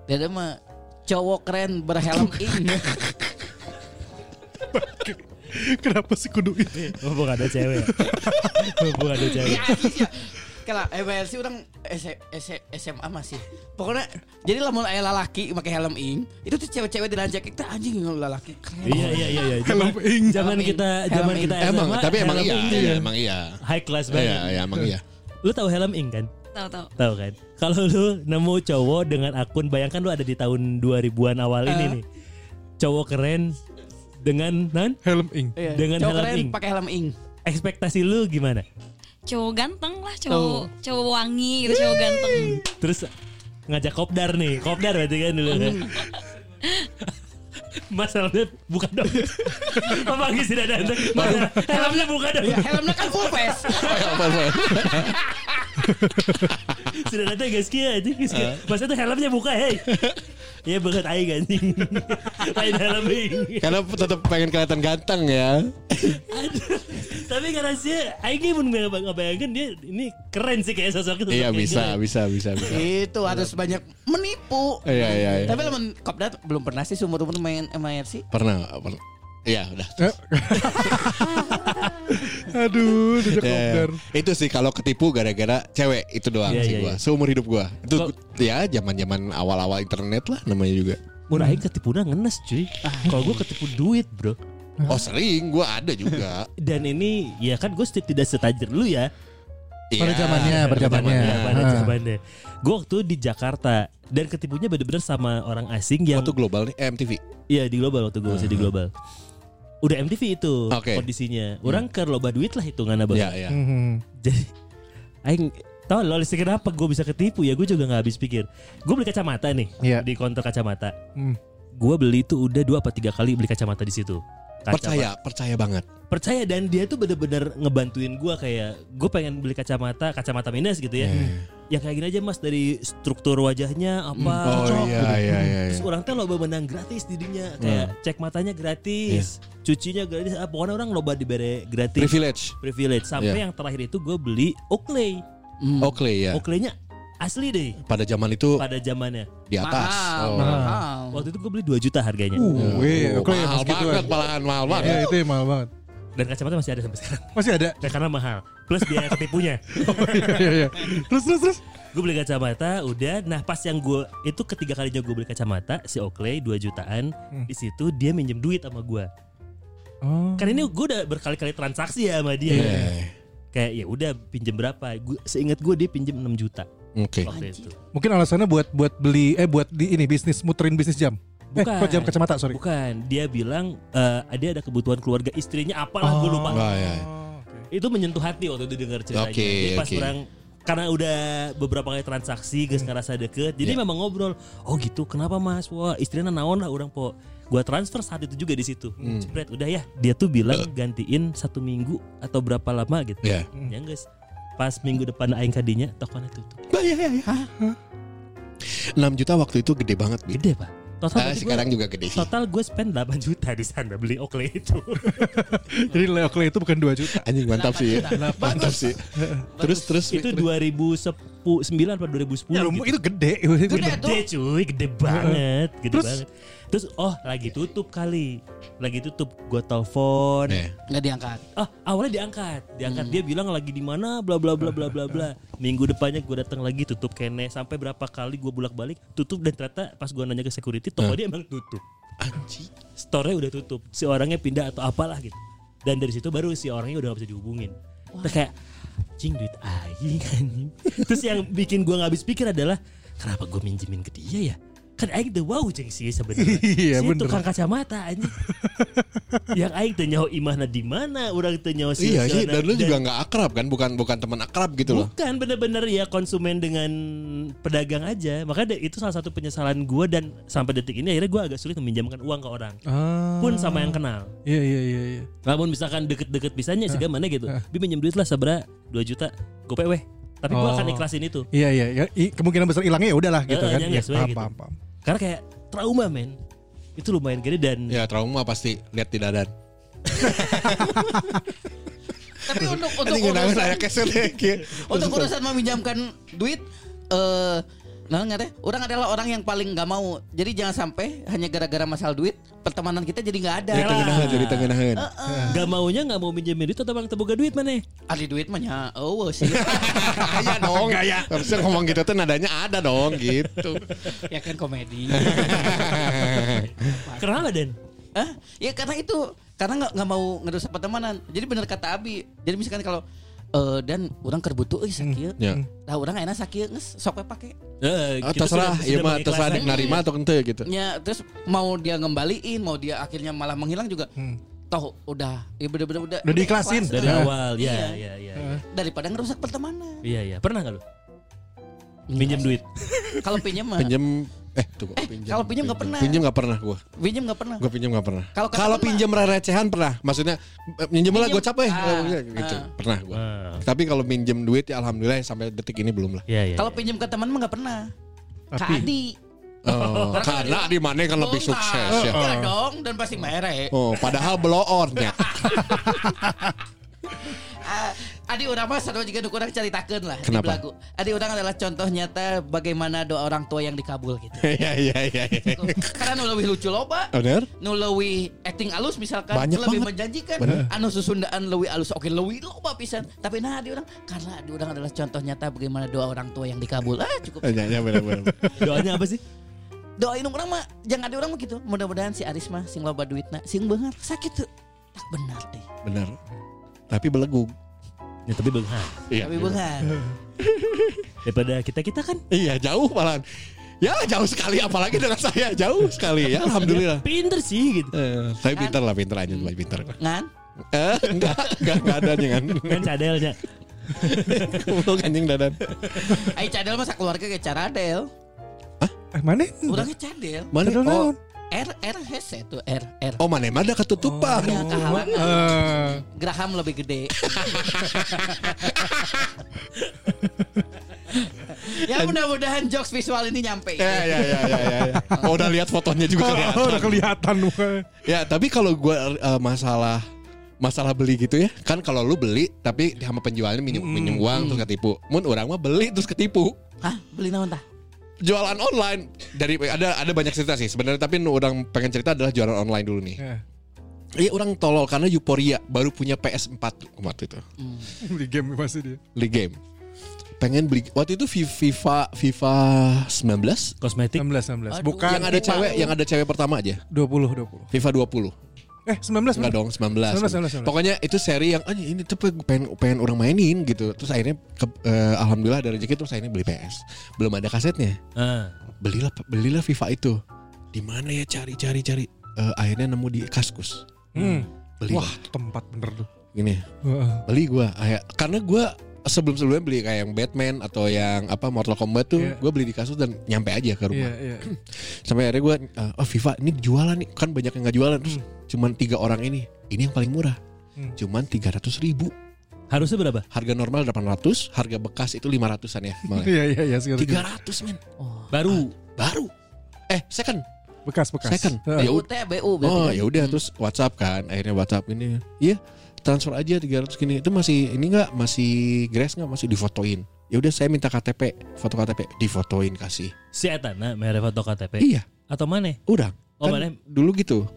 Dada mah cowok keren berhelm ing.
Kenapa sih kudu itu?
*laughs* Mumpung ada cewek. *laughs* Mumpung ada cewek.
Ya, anjing, ya. Kalau MLC orang S- S- SMA masih. Pokoknya jadi lamun aya lalaki pakai helm ing, itu tuh cewek-cewek diranjak kita anjing lalaki keren.
Iya iya iya iya. Zaman, zaman
Helming.
kita zaman
Helming.
kita
Eh,
Emang,
SMA,
tapi emang
helm
iya,
ing
iya,
kan
emang iya.
High class
Iya,
banget.
iya, emang
*laughs*
iya.
Lu tahu helm ing kan?
Tahu tahu.
Tahu kan? Kalau lu nemu cowok dengan akun bayangkan lu ada di tahun 2000-an awal
Ah.
ini nih. Cowok keren dengan nan
Helm ing.
Iya,
Dengan
cowok
helm
keren
ing.
pakai helm ing.
ekspektasi lu gimana?
Cowok ganteng lah, cowok cowok wangi gitu, cowok ganteng.
Terus ngajak kopdar nih. Kopdar berarti kan dulu
*laughs*
kan. Masalahnya buka
*laughs*
dong. Apa lagi sih ada Masalah, helmnya buka dong.
Iya,
Ya, helmnya kan full face.
Sudah nanti guys kia aja guys
Ah.
kia. Masa tuh helmnya buka hey. Iya banget aing anjing. Lain helm aing.
Karena tetap pengen kelihatan ganteng ya.
Tapi karena sih aing ini pun nggak ngebayangin dia ini keren sih kayak sosoknya.
Iya
Kayak
bisa,
gitu.
bisa, bisa, bisa.
itu harus banyak menipu.
Iya, iya, iya.
Tapi lamun kopdat belum pernah sih seumur umur main MIRC.
Pernah, pernah. Iya, udah.
Aduh,
Ya,
sejak
ya.
kopdar.
Itu sih kalau ketipu gara-gara cewek itu doang
Iya,
sih
iya,
gua.
iya.
Seumur hidup gua. Itu
Kok-
ya zaman-zaman awal-awal internet lah namanya juga.
Mun aing ketipuna ngenes cuy. Kalau gue ketipu duit, Bro.
Oh sering, gue ada
*laughs*
juga.
Dan ini ya kan gue tidak setajir lu ya.
Pada
Iya.
zamannya, pada zamannya.
Ya, pada
Ah.
zamannya. Gue waktu di Jakarta dan ketipunya bener-bener sama orang asing yang
Waktu global nih, eh, MTV.
Iya di global waktu gue masih di global. Udah MTV itu
Hmm. Oke. Hmm.
kondisinya. Orang ke loba duit lah hitungannya bang.
Iya, iya.
Mhm.
Jadi aing tau lo listrik kenapa gue bisa ketipu ya gue juga nggak habis pikir. Gue beli kacamata nih
Iya.
di konter kacamata.
Hmm.
Gue beli itu udah dua apa tiga kali beli kacamata di situ. Kaca-
Percaya, percaya banget.
Percaya dan dia tuh bener-bener ngebantuin gue kayak gue pengen beli kacamata kacamata minus gitu ya.
Hmm.
Ya kayak gini aja mas dari struktur wajahnya apa. Ah, cocok gitu.
iya, iya, iya.
Terus orang teh loba menang gratis dirinya kayak cek matanya gratis,
Iya.
cucinya gratis, ah, pokoknya orang loba dibere gratis.
Privilege.
Privilege. Sampai
Iya.
yang terakhir itu gue beli Oakley. Hmm.
Oakley ya.
Oakley-nya asli deh
Pada zaman itu
pada zamannya.
di atas.
Mahal,
Oh.
mahal.
Waktu itu gue beli 2 juta harganya.
Uh, weh,
Oh,
oke,
mahal
pas gitu
banget,
ya.
malahan mahal banget.
Iya, itu yang mahal banget.
Dan kacamata masih ada sampai sekarang.
Masih ada.
Ya, karena mahal. Plus biaya
*laughs*
ketipunya.
Iya, iya, iya. Terus terus terus.
gue beli kacamata, udah. Nah pas yang gue itu ketiga kalinya gue beli kacamata si Oakley 2 jutaan.
Hmm.
Di situ dia minjem duit sama gue.
Oh.
Kan ini gue udah berkali-kali transaksi ya sama dia.
Iya.
kayak ya udah pinjem berapa gua, seingat gue dia pinjem 6 juta
Oke.
waktu itu
Mungkin alasannya buat buat beli eh buat di ini bisnis muterin bisnis jam. Eh,
Bukan.
kok jam kacamata, sorry.
bukan dia bilang eh dia ada kebutuhan keluarga istrinya apalah gue lupa
Wah, ya.
Oh,
itu menyentuh hati waktu itu dengar ceritanya
Oke,
jadi pas
oke.
orang karena udah beberapa kali transaksi geus ngerasa deket
Ya.
jadi memang ngobrol oh gitu kenapa mas wah istrinya naon lah orang po gua transfer saat itu juga di situ
Hmm.
Jepret, udah ya dia tuh
Eh.
bilang gantiin satu minggu atau berapa lama gitu
Iya.
ya guys pas minggu depan aing kadinya tokonya tutup
6 juta waktu itu gede banget. Bi.
gede pak total
Ah,
berarti gua-
sekarang juga gede sih.
Total gue spend 8 juta di sana beli Oakley itu.
Jadi nilai Oakley itu bukan 2 juta.
Anjing mantap sih. ya. Mantap
*laughs*
sih. *laughs* Terus terus
itu 2009 atau 2010
Iya,
Ya, lu-
gitu.
itu gede. Itu
Gede tuh.
Gede cuy, gede banget, gede
Terus?
banget. Terus oh lagi tutup kali. Lagi tutup gue telepon.
Iya.
Nggak diangkat.
Ah, awalnya diangkat. Diangkat dia bilang lagi di mana bla bla bla bla bla bla. Hmm. *laughs* Minggu depannya gue datang lagi tutup kene sampai berapa kali gue bolak-balik tutup dan ternyata pas gue nanya ke security toko dia emang tutup.
Anjing.
store-nya udah tutup, si orangnya pindah atau apalah gitu. Dan dari situ baru si orangnya udah gak bisa dihubungin. Terus kayak cing duit aing anjing. *laughs* Terus yang bikin gua nggak habis pikir adalah kenapa gua minjemin ke dia ya? Kan aing the wow cing sih sebenarnya.
*laughs* Iya,
si
bener.
tukang kacamata anjing. yang aing teu nyaho imahna di mana, urang teu nyaho si
Iya
si
sih
orang-
dan lu juga nggak akrab kan bukan bukan teman akrab gitu loh.
Bukan bener-bener ya konsumen dengan pedagang aja Makanya itu salah satu penyesalan gua Dan sampai detik ini akhirnya gua agak sulit meminjamkan uang ke orang
Ah.
Pun sama yang kenal
Iya, iya, iya, iya.
Namun misalkan deket-deket pisannya
Ah.
sih mana gitu. Bi pinjam duit lah sabra 2 juta. Gope weh. Tapi gua
Oh.
akan ikhlasin itu.
Iya, iya, iya. I- Kemungkinan besar hilangnya ya udahlah gitu
Eh,
kan.
jangan
Ya,
sesuai
paham,
gitu.
paham, paham.
Karena kayak trauma men. Itu lumayan gede dan
Ya trauma pasti lihat di dadan.
Tapi
*laughs*
untuk untuk
Ini ngenangin
urusan
anak kesel
*laughs*
ya. kayak.
untuk urusan meminjamkan duit eh nah nggak teh orang adalah orang yang paling nggak mau jadi jangan sampai hanya gara-gara masalah duit pertemanan kita jadi nggak ada
Jadi tengenahan jadi tengenahan.
gak maunya gak mau minjemin duit atau bang teboga duit mana.
ada duit mah nya oh sih
*laughs* Iya dong. Harusnya ngomong gitu tuh nadanya ada dong gitu.
ya kan
*laughs*
komedi
Kenapa Dan?
Hah? ya karena itu karena nggak nggak mau ngerusak pertemanan jadi bener kata Abi jadi misalkan kalau eh, dan orang kerbutu euy sakit
Ya.
Nah orang enak sakit nges sok we pake
Eh,
Ah,
gitu
terserah,
sudah-
iya
sudah
mah
pakai
terserah
kelasan.
adik narima atau ente gitu.
Ya terus mau dia ngembaliin Mau dia akhirnya malah menghilang juga Toh udah Ya bener-bener udah
Udah diikhlasin.
ikhlas.
Dari
Nah.
awal ya
Iya.
ya ya.
Daripada ngerusak pertemanan
Iya iya. Pernah gak lu? Iya, Minjem duit.
Kalau pinjam mah
Pinjem eh tuh gua pinjem.
kalau pinjem nggak pernah.
Pinjem nggak pernah gua.
Pinjam nggak pernah
Gua pinjem nggak pernah.
Kalau kata
Kalau
pernah.
pinjem recehan pernah. Maksudnya eh, pinjem lah
Pinjem.
gocap eh
Ah,
gitu.
ah.
Pernah gua.
Ah.
Tapi kalau minjem duit ya alhamdulillah sampai detik ini belum lah.
Iya iya.
Kalau pinjam ke teman mah nggak pernah Ke
Tapi-
Adi
Oh, karena di mana kan lebih
Dong,
sukses
Kak.
ya.
Oh.
Iya dong Dan pasti ya. merek
Oh, padahal blow on
*laughs*
ya.
Ah, Adi orang mah sarua juga kurang caritakeun lah di
Kenapa?
belagu. Adi orang adalah contoh nyata bagaimana doa orang tua yang dikabul
*laughs*
gitu.
Iya iya iya. iya.
Karena nu leuwih lucu loba,
Bener?
nu leuwih acting alus misalkan
Banyak
lebih
banget.
menjanjikan,
Bener.
anu susundaan leuwih alus oke leuwih loba pisan. Tapi nah Adi orang karena Adi orang
Oh, Eh,
adalah contoh nyata bagaimana doa orang tua yang dikabul. Ah cukup.
Iya iya bener bener.
Doanya apa sih?
doain orang mah jangan ada orang mah gitu mudah-mudahan si Aris mah sing loba duitna sing beungar sakit tuh tak benar deh
bener tapi belegug
Ya, tapi benghar.
iya
tapi beungar
Daripada kita-kita kan
iya jauh malahan ya jauh sekali apalagi dengan saya jauh sekali ya *laughs* alhamdulillah
pinter sih gitu.
Eh,
Kan?
tapi pinter lah pinter aja lebih pinter
ngan
eh enggak enggak enggak ada jangan
Kan cadelnya.
Goblok anjing dadan
Ayo cadel masa keluarga ke caradel
Eh, mana?
Urangnya cadel
mana
Padahal
oh,
naon?
R R hese tuh R R
oh mana mana ketutupan
Ya, kahalangan.
Eh,
Graham lebih
*laughs*
gede. ya mudah-mudahan jokes visual ini nyampe.
Ya, ya, ya, ya, ya, ya. Oh, udah lihat fotonya juga kelihatan.
*laughs* udah kelihatan mukanya.
Ya, tapi kalau gua eh, masalah masalah beli gitu ya. Kan kalau lu beli tapi sama penjualnya minjem minjem uang terus ketipu. Mun orang mah beli terus ketipu.
Hah? Beli naon tah?
Jualan online dari ada ada banyak cerita sih sebenarnya tapi nu orang pengen cerita adalah jualan online dulu nih.
Ya,
Iya orang tolol karena Euphoria baru punya PS4 tuh waktu itu.
Beli Eh, game pasti dia.
Beli game. Pengen beli waktu itu Fi- FIFA FIFA 19
Kosmetik.
16 16.
Aduh.
Bukan
yang ada Kan cewek yang ada cewek pertama aja.
20 20.
FIFA 20.
Eh, 19
Enggak
mana?
dong 19.
19, 19.
Pokoknya itu seri yang "Ah, ini tuh pengen pengen orang mainin gitu. Terus akhirnya ke- eh, alhamdulillah ada rezeki terus akhirnya beli PS. Belum ada kasetnya.
Ah.
Belilah belilah FIFA itu. Di mana ya cari-cari cari. Eh, akhirnya nemu di Kaskus.
Hmm.
Beli.
Wah, tempat bener tuh.
Gini,
Heeh.
beli gua Akhir- karena gua sebelum-sebelumnya beli kayak yang Batman atau yang apa Mortal Kombat tuh
Iya.
gua beli di Kaskus dan nyampe aja ke
Iya,
rumah.
iya.
Sampai akhirnya gua eh, oh FIFA ini jualan nih. Kan banyak yang nggak jualan terus cuman tiga orang ini. Ini yang paling murah.
Hmm.
Cuman 300 ribu
Harusnya berapa?
harga normal 800, harga bekas itu 500-an ya. Malah.
Iya, iya, iya, segitu.
300 men,
Oh,
Baru.
baru. Eh, second,
Bekas, bekas. Eh,
second. Ya
Heeh.
BU
ud-
teh BU berarti.
oh,
kan?
ya udah terus WhatsApp kan. Akhirnya WhatsApp ini. Iya, transfer aja 300 gini. Itu masih ini enggak masih grace enggak masih difotoin. Ya udah saya minta KTP, foto KTP difotoin kasih.
Si nah, Etana mere foto KTP.
Iya,
Atau mana?
udah.
Oh,
Kan
mana?
dulu gitu.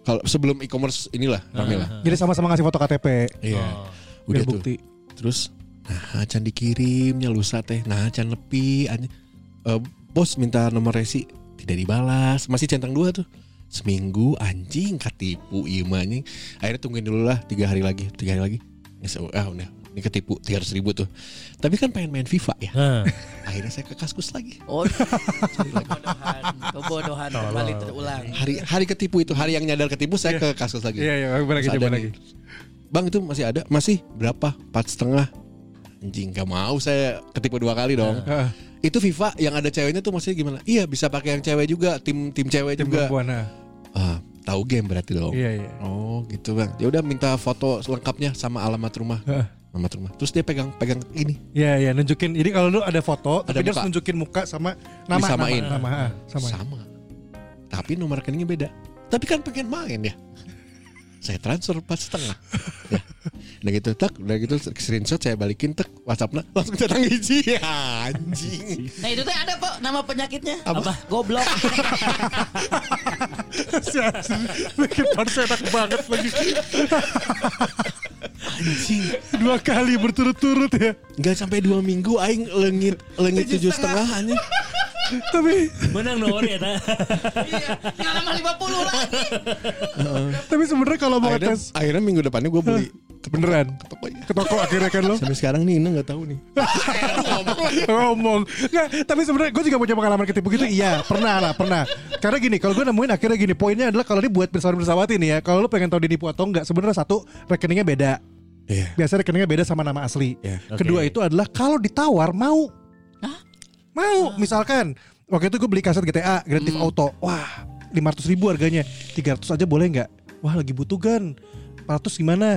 Kalau sebelum e-commerce inilah rame lah.
Jadi sama-sama ngasih foto KTP
Iya.
Oh.
Udah
biar
tuh.
bukti.
Terus nah can dikirimnya lusa teh nah can lepi an- Eh, bos minta nomor resi tidak dibalas masih centang dua tuh seminggu anjing ketipu imannya akhirnya tungguin dulu lah tiga hari lagi tiga hari lagi Nges- ah udah ini ketipu 300 ribu tuh tapi kan pengen main FIFA ya
Ah.
akhirnya saya ke kaskus lagi
Oh, kebodohan, kebodohan kembali terulang.
hari hari ketipu itu hari yang nyadar ketipu saya ke kaskus lagi
Iya, iya, coba lagi,
Terus
coba
ada
lagi.
nih, Bang itu masih ada masih berapa empat setengah anjing gak mau saya ketipu dua kali dong
Heeh.
itu FIFA yang ada ceweknya tuh maksudnya gimana? Iya bisa pakai yang cewek juga, tim tim cewek
Tim
juga.
perempuan. nah.
Ah, tahu game berarti dong.
Iya, iya.
Oh gitu bang. Ya udah minta foto lengkapnya sama alamat rumah,
Heeh.
alamat rumah. Terus dia pegang pegang ini
Iya, iya, nunjukin. Jadi kalau lu ada foto, tapi
Ada
dia harus
muka.
nunjukin muka sama nama,
Disamain.
nama, nama, ah, sama. *laughs*
sama. Tapi nomor rekeningnya beda. Tapi kan pengen main ya. Saya transfer empat setengah. ya. Udah gitu tak, udah gitu screenshot saya balikin tek WhatsAppnya langsung datang hiji ya, *laughs* anjing.
Nah itu teh ada kok nama penyakitnya.
Apa?
Goblok.
Ya, Bikin ponsel enak banget lagi.
*laughs* Anjing.
Dua kali berturut-turut ya.
Gak sampai dua minggu aing lengit lengit tujuh setengah anjing.
Tapi
Menang nomor ya, Eta.
iya, lama 50 lagi.
tapi sebenarnya kalau
Eh.
mau
akhirnya,
ngetes
akhirnya minggu depannya gue beli
*laughs*
beneran
ke tokonya.
ke toko akhirnya kan lo
Sampai sekarang nih Ina nggak tahu nih.
ngomong Nggak, tapi sebenarnya gue juga punya pengalaman ketipu gitu iya pernah lah pernah karena gini kalau gue nemuin akhirnya gini poinnya adalah kalau ini buat pesawat pesawat ini ya kalau lo pengen tahu dinipu atau enggak sebenarnya satu rekeningnya beda
Iya.
biasa rekeningnya beda sama nama asli
Iya.
kedua
Oke.
itu adalah kalau ditawar mau mau misalkan waktu itu gue beli kaset GTA Grand Theft Auto wah 500 ribu harganya 300 aja boleh nggak wah lagi butuh kan 400 gimana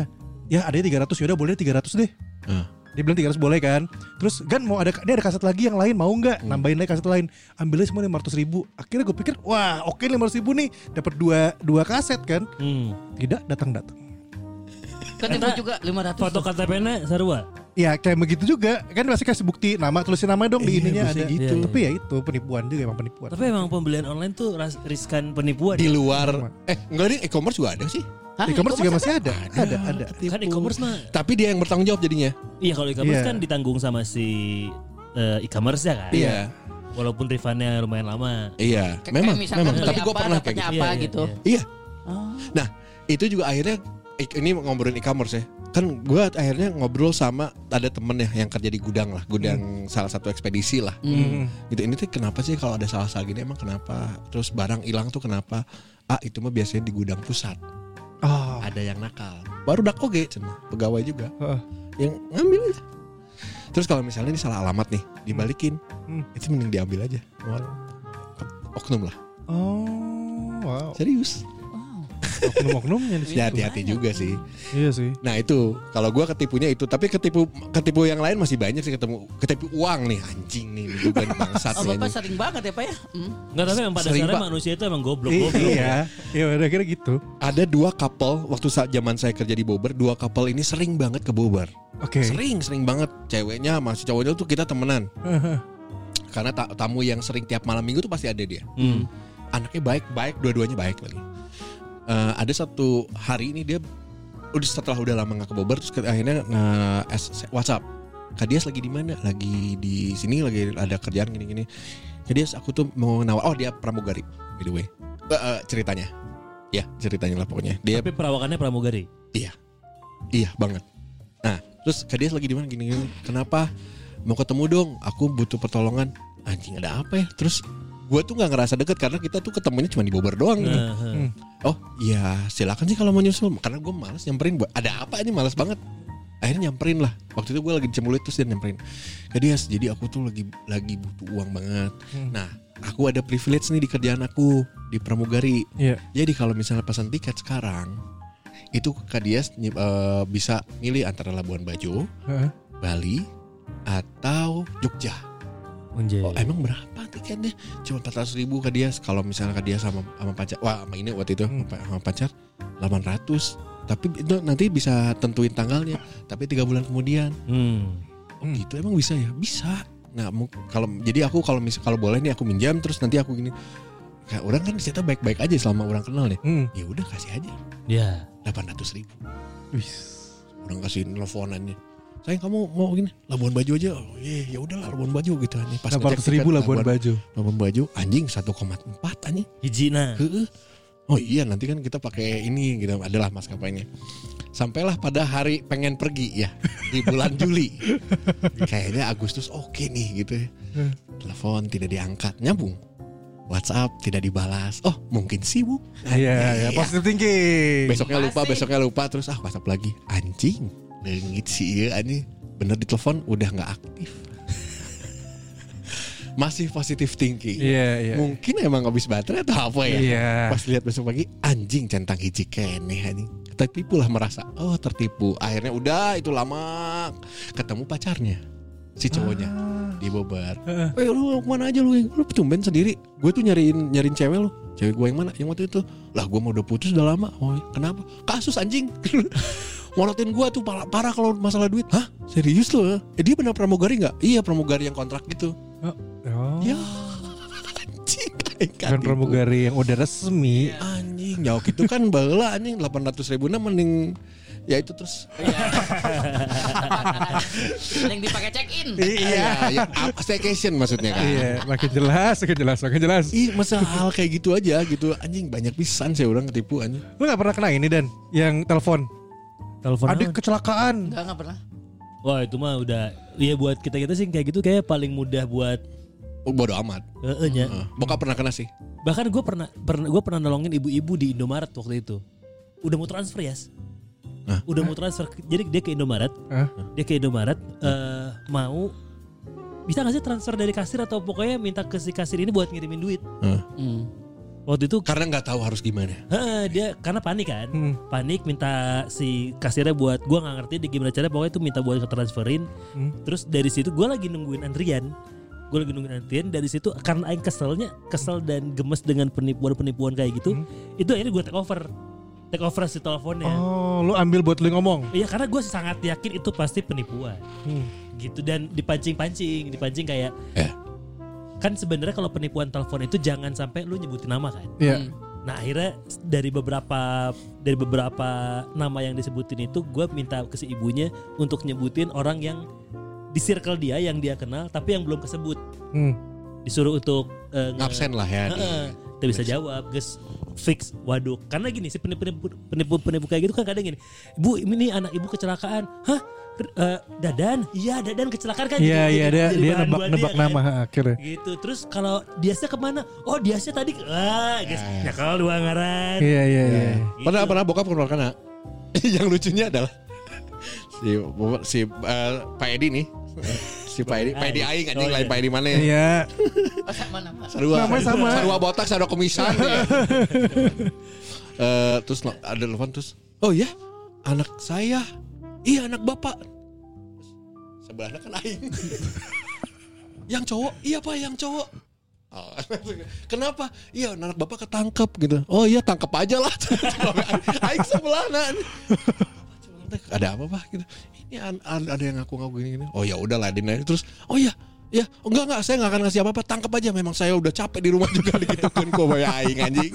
ya ada 300 yaudah boleh 300 deh
Ah.
dia bilang 300 boleh kan Terus Gan mau ada Ini ada kaset lagi yang lain Mau nggak Nambahin lagi kaset lain Ambilnya semua 500 ribu Akhirnya gue pikir Wah oke 500 ribu nih Dapat dua dua kaset kan
Hmm.
Tidak datang-datang
Ketemu Kan juga 500.
Foto kan. KTP-nya sarua.
Ya kayak begitu juga Kan masih kasih bukti Nama tulisin namanya dong Di
Iya,
ininya
biasanya
ada
gitu.
Tapi ya itu Penipuan juga emang penipuan
Tapi emang pembelian online tuh ras- riskan penipuan.
Di luar eh enggak deh e-commerce juga ada sih.
Hah?
E-commerce juga masih ada Ada ada,
kan e-commerce mah
Tapi dia yang bertanggung jawab jadinya.
iya kalau e-commerce
Iya.
kan ditanggung sama si eh, e-commerce ya kan.
Iya.
Walaupun rifannya lumayan lama.
Iya,
Kayak
memang,
misalkan
memang.
beli
Tapi gue
apa,
pernah kayak
dapatnya
gitu.
apa Oh.
Iya, iya,
gitu.
iya.
Iya. Nah, itu juga akhirnya ik- ini ngobrolin e-commerce ya. Kan gue akhirnya ngobrol sama ada temen ya yang kerja di gudang lah,
Hmm.
gudang salah satu ekspedisi lah.
Hmm.
Gitu ini tuh kenapa sih kalau ada salah-salah gini emang kenapa? Terus barang hilang tuh kenapa? Ah itu mah biasanya di gudang pusat.
Oh.
Ada yang nakal. Baru dak oge cenah, pegawai juga.
Heeh.
Yang ngambil aja. Terus kalau misalnya ini salah alamat nih, dibalikin.
Hmm.
Itu mending diambil aja. Oknum lah.
Oh, wow.
Serius.
*laughs* Oknum-oknumnya di situ.
Ya hati-hati juga sih.
Iya sih.
Nah itu kalau gua ketipunya itu tapi ketipu ketipu yang lain masih banyak sih ketemu ketipu uang nih anjing nih ini juga nih bangsat
Oh
nih,
bapak
anjing.
sering banget ya pak ya? Hmm.
Enggak tapi emang pada
Sering,
dasarnya
Pak.
manusia itu emang goblok-goblok.
Iya. Iya, udah kira gitu.
Ada dua couple waktu saat zaman saya kerja di Bobber dua couple ini sering banget ke Bobber
Oke.
sering sering banget ceweknya masih cowoknya tuh kita temenan karena ta- tamu yang sering tiap malam minggu tuh pasti ada dia
Hmm.
anaknya baik baik dua-duanya baik lagi Eh, ada satu hari ini dia udah setelah udah lama nggak ke Bogor terus ke- akhirnya eh, S- WhatsApp Kak Dias lagi di mana lagi di sini lagi ada kerjaan gini-gini Kak Dias aku tuh mau nawar oh dia pramugari by the way Eh, eh, ceritanya ya ceritanya lah pokoknya dia
Tapi perawakannya pramugari.
iya banget nah terus Kak Dias lagi di mana gini-gini kenapa mau ketemu dong aku butuh pertolongan anjing ada apa ya terus gue tuh nggak ngerasa deket karena kita tuh ketemunya cuma di Bogor doang gitu.
Nah, heeh.
Oh iya silakan sih kalau mau nyusul Karena gue males nyamperin buat Ada apa ini males banget Akhirnya nyamperin lah Waktu itu gue lagi di Cembulit Terus dia nyamperin Kadias jadi aku tuh lagi lagi butuh uang banget Nah aku ada privilege nih di kerjaan aku Di Pramugari
Iya.
Jadi kalau misalnya pesan tiket sekarang Itu Kadias eh, bisa milih antara Labuan Bajo
Heeh.
Bali atau Jogja
Anjay.
Iya.
Oh, emang berapa tiketnya? Cuma 400 ribu ke dia. Kalau misalnya ke dia sama sama pacar, wah sama ini waktu itu
Hmm.
sama- sama pacar 800. Tapi itu nanti bisa tentuin tanggalnya. Tapi tiga bulan kemudian.
Hmm.
Oh
Hmm.
gitu emang bisa ya? Bisa. Nah mu- kalau jadi aku kalau misal kalau boleh nih aku minjam terus nanti aku gini. Kayak orang kan cerita baik-baik aja selama orang kenal nih.
Hmm.
Ya udah kasih aja
Ya.
800 ribu.
Wis.
Orang kasih teleponannya. Sayang kamu mau gini Labuan Bajo aja. Oh, iya, ya udahlah Labuan Bajo gitu nih. Pas ngecek
800
tiket,
ribu lah kan buat baju.
Labuan Bajo anjing 1,4 anjing.
Hijina.
Heeh. Oh iya nanti kan kita pakai ini gitu adalah maskapainya. Sampailah pada hari pengen pergi ya di
*laughs*
bulan Juli. Kayaknya Agustus oke nih gitu ya. Telepon tidak diangkat, nyambung. WhatsApp tidak dibalas. Oh, mungkin sibuk.
Iya, ya, positive thinking.
Besoknya lupa,
Pasti.
besoknya lupa terus ah WhatsApp lagi. Anjing, lengit sih iya anjing. Bener ditelepon udah nggak aktif. *laughs* Masih positive thinking.
Iya, iya.
Mungkin emang habis baterai atau apa ya?
Iya.
Pas lihat besok pagi anjing centang hiji keneh anjing. Tertipu lah merasa. Oh, tertipu. Akhirnya udah itu lama ketemu pacarnya. Si cowoknya
Ah.
di Bogor. Eh lu kemana aja lu? Lu tumben sendiri. Gue tuh nyariin nyariin cewek lu. Cewek gue yang mana? Yang waktu itu. Lah gue mau udah putus udah lama. Oh, kenapa? Kasus anjing. *laughs* Morotin gue tuh parah, parah kalau masalah duit. Hah? Serius lu? Eh, dia benar pramugari nggak? Iya pramugari yang kontrak gitu.
Oh.
Ya. Anjing.
Kan pramugari yang udah resmi.
Anjing nyawa gitu kan baheula anjing 800 ribu nah, mending ya itu terus
Yang dipakai check in.
iya ya, apa, staycation maksudnya kan
Iya, makin jelas, makin jelas, makin jelas.
Ih, masa hal kayak gitu aja gitu anjing banyak pisan saya orang ketipu anjing.
Lu gak pernah kena ini Dan, yang telepon.
Telepon
Ada
apa?
kecelakaan.
Enggak enggak pernah.
Wah, itu mah udah Iya buat kita-kita sih kayak gitu kayak paling mudah buat
Oh, bodo amat.
heeh ya.
Heeh. Bokap pernah kena sih.
Bahkan gue pernah pernah gue pernah nolongin ibu-ibu di Indomaret waktu itu. Udah mau transfer ya.
Hah?
Udah mau transfer. Jadi dia ke Indomaret.
Hah?
Dia ke Indomaret eh, mau bisa gak sih transfer dari kasir atau pokoknya minta ke si kasir ini buat ngirimin duit.
Hmm.
Waktu itu
Karena nggak tahu harus gimana.
heeh, dia karena panik kan.
Hmm.
Panik minta si kasirnya buat gua nggak ngerti di gimana caranya pokoknya itu minta buat transferin.
Hmm.
Terus dari situ gua lagi nungguin antrian. Gua lagi nungguin antrian dari situ karena aing keselnya, kesel dan gemes dengan penipuan-penipuan kayak gitu.
Hmm.
Itu akhirnya gua take over. Take over si teleponnya.
Oh, lu ambil buat lu ngomong.
Iya karena gue sangat yakin itu pasti penipuan
Hmm.
gitu dan dipancing-pancing, dipancing kayak
Eh.
kan sebenarnya kalau penipuan telepon itu jangan sampai lu nyebutin nama kan.
Iya.
Nah akhirnya s- dari beberapa dari beberapa nama yang disebutin itu gue minta ke si ibunya untuk nyebutin orang yang di circle dia yang dia kenal tapi yang belum kesebut.
Hmm.
disuruh untuk eh, nge-
Absen lah ya. di-
Heeh. Kita bisa jawab, guys. Fix, waduh. Karena gini, si penipu-penipu penipu, penipu kayak gitu kan kadang gini. Bu, ini anak ibu kecelakaan. Hah? R- eh, Dadan? Iya, Dadan kecelakaan kan.
Iya
Jadi-
iya
jadi-
dia
jadi
dia
bahan buat
nebak-nebak
dia, kan.
nama ha, akhirnya.
Gitu. Terus kalau Diasnya kemana? Oh, Diasnya tadi ah, guys. Nyakal dua ngaran.
Nah. Iya iya iya.
Gitu.
Pernah pernah bokap keluar kena. *laughs* yang lucunya adalah si si eh, Pak Edi nih. si Pak Edi, Pak Edi aing anjing
Oh,
lain
iya.
Pak Edi mana ya?
Iya.
Sama nama.
Sarua.
Namanya sama.
Sarua botak, sarua
*laughs*
komisan. ya. Eh, terus no- ada telepon terus. Oh iya, anak saya. Iya anak bapak. Sebelahnya kan aing.
*laughs*
yang cowok, iya pak yang cowok. Oh, *laughs* Kenapa? Iya anak bapak ketangkep gitu. Oh iya tangkep aja lah. *laughs* aing sebelahnya. ada apa pak gitu ini an- an- ada yang ngaku ngaku gini gini oh ya udah ladin aja terus oh ya ya oh, enggak enggak saya enggak akan ngasih apa apa tangkap aja memang saya udah capek di rumah juga *laughs* digituin kok bayar aing anjing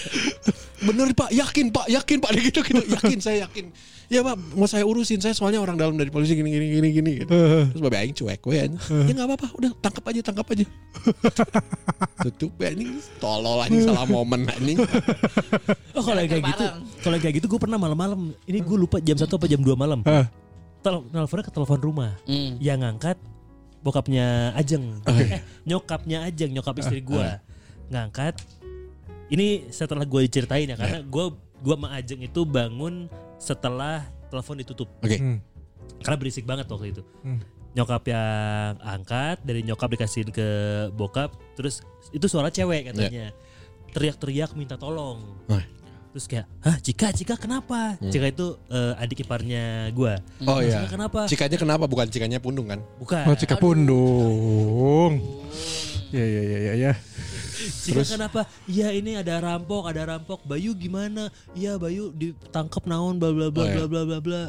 *laughs* bener pak yakin pak yakin pak *laughs* gitu gitu yakin saya yakin ya pak mau saya urusin saya soalnya orang dalam dari polisi gini gini gini gini *laughs* gitu. terus babe aing cuek we *laughs* anjing. ya nggak apa-apa udah tangkap aja tangkap aja *laughs* tutup ya anjing tolol anjing salah momen anjing
Oh kalau yang kayak gitu,
Bareng.
kalau yang kayak gitu gue pernah malam-malam. Ini gue lupa jam 1 apa jam 2 malam.
Hah.
Tel nelfonnya ke telepon rumah.
Hmm.
Yang ngangkat bokapnya Ajeng. Eh, *laughs* nyokapnya Ajeng, nyokap istri gua. Ngangkat. Ini setelah gue diceritain ya karena gua gua sama Ajeng itu bangun setelah telepon ditutup.
oke
Hmm.
Karena berisik banget waktu itu.
Hmm.
Nyokap yang angkat, dari nyokap dikasihin ke bokap, terus itu suara cewek katanya. Teriak-teriak minta tolong.
Wah.
Terus kayak, "Hah, Cika, Cika kenapa?"
Hmm.
Cika itu eh, adik iparnya gua.
*laughs* oh iya
Cika kenapa?
cikanya kenapa bukan cikanya pundung kan
Bukan.
Oh Cika Pundung. Iya iya iya iya. Ya.
Cika kenapa? Iya ini ada rampok, ada rampok. Bayu gimana? Iya Bayu ditangkap naon bla bla bla
Oh, iya.
bla bla bla bla.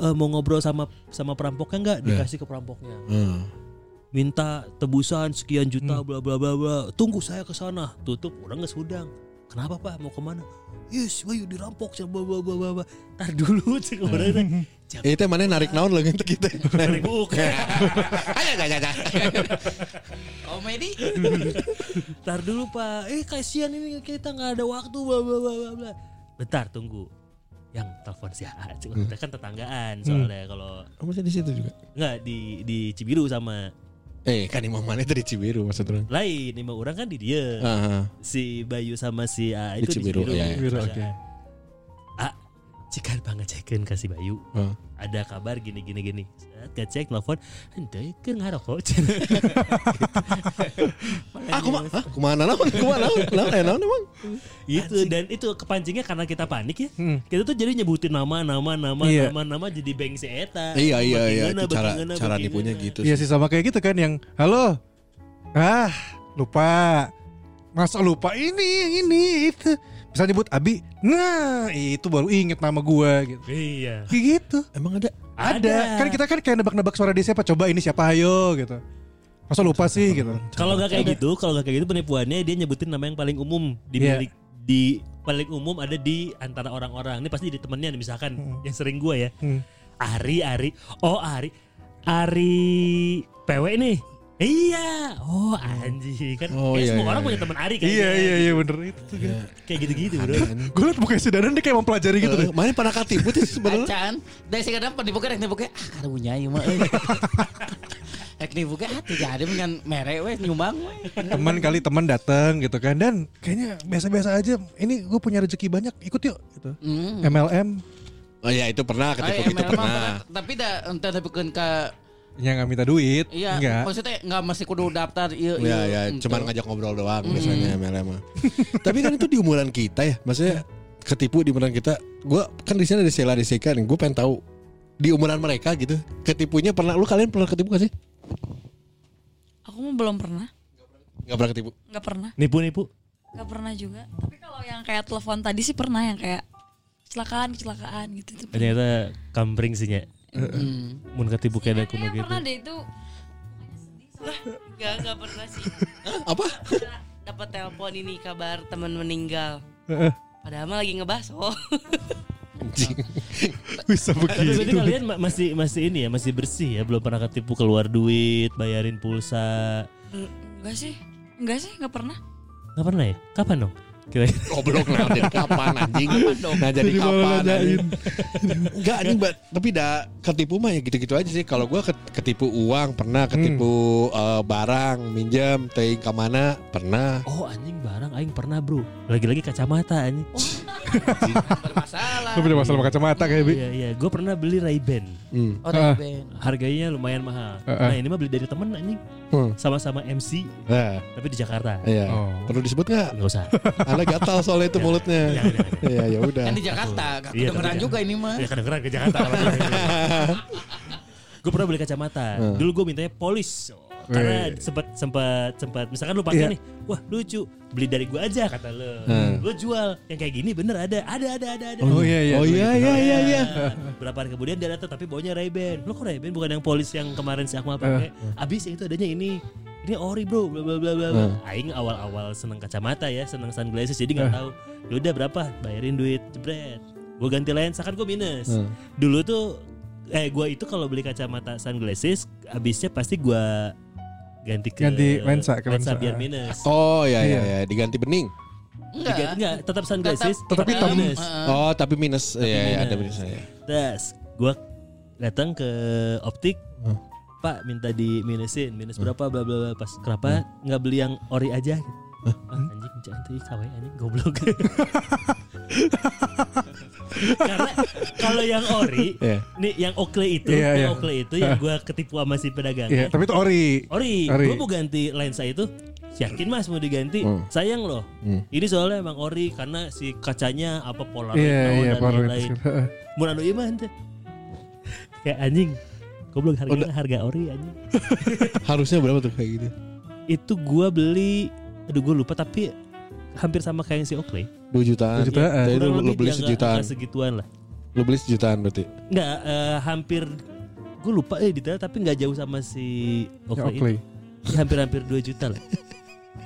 Eh, mau ngobrol sama sama perampoknya nggak?
Iya.
Dikasih ke perampoknya.
Hmm.
Minta tebusan sekian juta bla bla bla bla. Tunggu saya ke sana. Tutup orang nggak sudang. Kenapa pak? Mau kemana? Yes, Bayu dirampok. Cik, Bla bla bla bla bla. Tar dulu cik *laughs* orang. Jangan
Eh, itu mana narik naon lagi itu kita. *laughs*
narik
Eh,
buka.
Aja aja aja.
Komedi.
Bentar dulu pak, eh kasihan ini kita nggak ada waktu bla bla bla bla bla. Bentar tunggu, yang telepon si A, Cuma
Hmm.
kita kan tetanggaan soalnya kalau
Kamu sih di situ juga.
nggak di di Cibiru sama
Eh, kan imam mana itu di Cibiru maksud orang.
lain lima orang kan di dia,
Ah,
si Bayu sama si A
Di
itu di
Cibiru,
Cibiru.
iya, iya.
Cibiru,
Tetanggaan.
oke.
A, cikan banget cekin kasih Bayu.
ah.
Ada kabar gini gini gini. Saat Gak cek telepon, hentai kan ngarokok.
Ah, kuma, ah, kumana naon? *laughs* Kumana naon? Naon eh, naon emang?
Gitu dan itu kepancingnya karena kita panik ya.
Hmm.
Kita tuh jadi nyebutin nama nama nama
Iya.
nama nama jadi bengse eta.
Iya, iya, iya.
Bagaimana,
Itu cara
bagaimana,
cara
bagaimana.
dipunya gitu.
Iya
sih.
sih sama kayak gitu kan yang halo. Ah, lupa. Masa lupa ini yang ini itu. Bisa nyebut Abi. Nah, itu baru inget nama gua gitu.
Iya.
Kayak gitu.
Emang ada?
Ada. Kan kita kan kayak nebak-nebak suara dia siapa. Coba ini siapa ayo gitu. Masa lupa sih gitu.
kalau nggak kayak gitu, kalau nggak kayak gitu penipuannya dia nyebutin nama yang paling umum di
Iya.
milik di paling umum ada di antara orang-orang. Ini pasti di temennya nih, misalkan yang sering gua ya.
Hmm.
Ari Ari. Oh, Ari. Ari PW nih. Iya. Oh, anjing kan.
Oh,
kayak
iya,
semua orang
iya, iya. kan?
punya teman Ari kan.
Iya iya iya bener itu tuh kan.
Kayak gitu-gitu, Bro.
Gue liat mukanya si Dadan dia kayak mempelajari gitu deh.
Eh, Mana pernah katibut sih sebenarnya?
Acan. Dari sekarang penipukan yang nipukan. Ah karena punya ya mah. Ek nipukan hati jadi ah, dengan merek weh nyumbang weh.
Teman kali teman datang gitu kan dan kayaknya biasa-biasa aja. Ini gue punya rezeki banyak, ikut yuk gitu.
Hmm.
MLM
Oh iya, itu pernah
Ay,
ketipu gitu
emang
pernah.
Tapi dah entah nipukan ke
yang nggak minta duit,
Iya,
enggak.
maksudnya nggak mesti kudu daftar. Iya,
Iya, iya, cuman ngajak ngobrol doang biasanya MLM. mah. *laughs* Tapi kan itu di umuran kita ya, maksudnya ketipu di umuran kita. Gua kan di sini ada Sheila di Sika nih, gua pengen tahu di umuran mereka gitu. Ketipunya pernah lu kalian pernah ketipu gak sih?
Aku mah belum pernah,
Gak pernah ketipu.
nggak pernah,
Nipu-nipu.
nggak pernah juga. Tapi kalau yang kayak telepon tadi sih pernah yang kayak kecelakaan kecelakaan gitu tuh. pernah.
Ternyata kampring sih nya. Mun ketipu kayak ada kuno
Iya,
Kayaknya
gitu.
pernah deh itu. Lah,
Enggak, enggak pernah sih.
Apa?
Dapat telepon ini kabar teman meninggal.
Heeh.
Padahal mah lagi ngebahas. Oh. *laughs*
Bisa
Tapi berarti
begitu.
gitu.
kalian ma- masih masih ini ya, masih bersih ya, belum pernah ketipu keluar duit, bayarin pulsa.
Enggak sih. Enggak sih, enggak pernah.
Nggak pernah ya? Kapan dong? Kira-kira.
Goblok lah jadi kapan anjing. Nah jadi
Jadi malah
kapan
nanyain.
anjing. *laughs* Enggak anjing Mbak. tapi dah ketipu mah ya gitu-gitu aja sih. Kalau gua ket- ketipu uang pernah, ketipu eh, barang minjam, teing ke mana pernah.
Oh anjing barang aing pernah bro. Lagi-lagi kacamata anjing.
Oh,
Bermasalah.
Lu punya masalah sama kacamata kayak Bi.
Iya iya, gue pernah beli Ray-Ban.
Hmm.
Oh, dari band.
Harganya lumayan mahal.
Heeh.
Nah, ini mah beli dari temen anjing.
Eh, Hmm.
Sama-sama MC
Nah,
tapi di Jakarta.
iya.
Oh.
Perlu disebut nggak?
Enggak
*laughs*
usah.
Anda gatal soalnya itu mulutnya.
Jangan, jangan, jangan.
Iya, ya udah.
Kan di Jakarta, gak
Iya,
kedengeran
tapi-
juga ini mah.
Ya kedengeran ke Jakarta. gue pernah beli kacamata.
Hmm.
Dulu gue mintanya polis. Karena sempat sempat sempat misalkan lu pakai
Iya.
nih, wah lucu, beli dari gue aja kata lu.
Hmm.
Lu jual yang kayak gini bener ada, ada ada ada ada.
Oh iya iya.
Oh iya iya iya iya.
Berapa hari kemudian dia datang tapi baunya Ray-Ban. Lu kok Ray-Ban bukan yang polis yang kemarin si Akmal pakai. Abis yang itu adanya ini. Ini ori bro, bla bla bla bla. bla.
Hmm.
Aing awal-awal seneng kacamata ya, seneng sunglasses jadi
Eh.
nggak tahu. Yaudah berapa? Bayarin duit, jebret. Gue ganti lensa kan gue minus.
Hmm.
Dulu tuh eh gue itu kalau beli kacamata sunglasses abisnya pasti gue ganti ke
Ganti lensa, ke lensa.
biar minus.
Oh iya iya
Iya.
iya diganti bening.
Diganti-
Enggak.
Enggak, tetap sunglasses,
tetap hitam.
minus.
Oh tapi minus. Iya iya ada
minus.
minusnya. ya.
Terus gue datang ke optik, Pak minta di minusin minus berapa bla bla bla pas kenapa nggak beli yang ori aja? Ah, anjing jangan tuh kawai anjing
*laughs*
goblok. Karena kalau yang ori,
Iya.
nih yang okle itu,
Iya,
yang
iya.
okle itu yang gue ketipu sama si pedagang.
Iya, tapi itu ori.
Ori,
Ori.
gue mau ganti lensa itu Yakin mas mau diganti
Hmm.
Sayang loh
Hmm.
Ini soalnya emang ori Karena si kacanya apa Polaroid
Iya
naon
iya
dan
*laughs*
lain-lain.
Polaroid.
Mun anu ieu mah henteu. Kayak anjing. Goblok harganya harga ori anjing.
Harusnya berapa tuh kayak gitu?
Itu gua beli aduh gua lupa tapi hampir sama kayak yang si Oakley.
2 jutaan.
Dua jutaan.
Jadi lu,
Kurang
lu
lebih
beli
dia
sejutaan.
nggak- nggak segituan lah.
Lu beli sejutaan berarti.
Enggak hampir gua lupa eh detail tapi nggak jauh sama si
Ya,
Oakley.
Oakley.
Ya, Hampir-hampir 2 juta lah.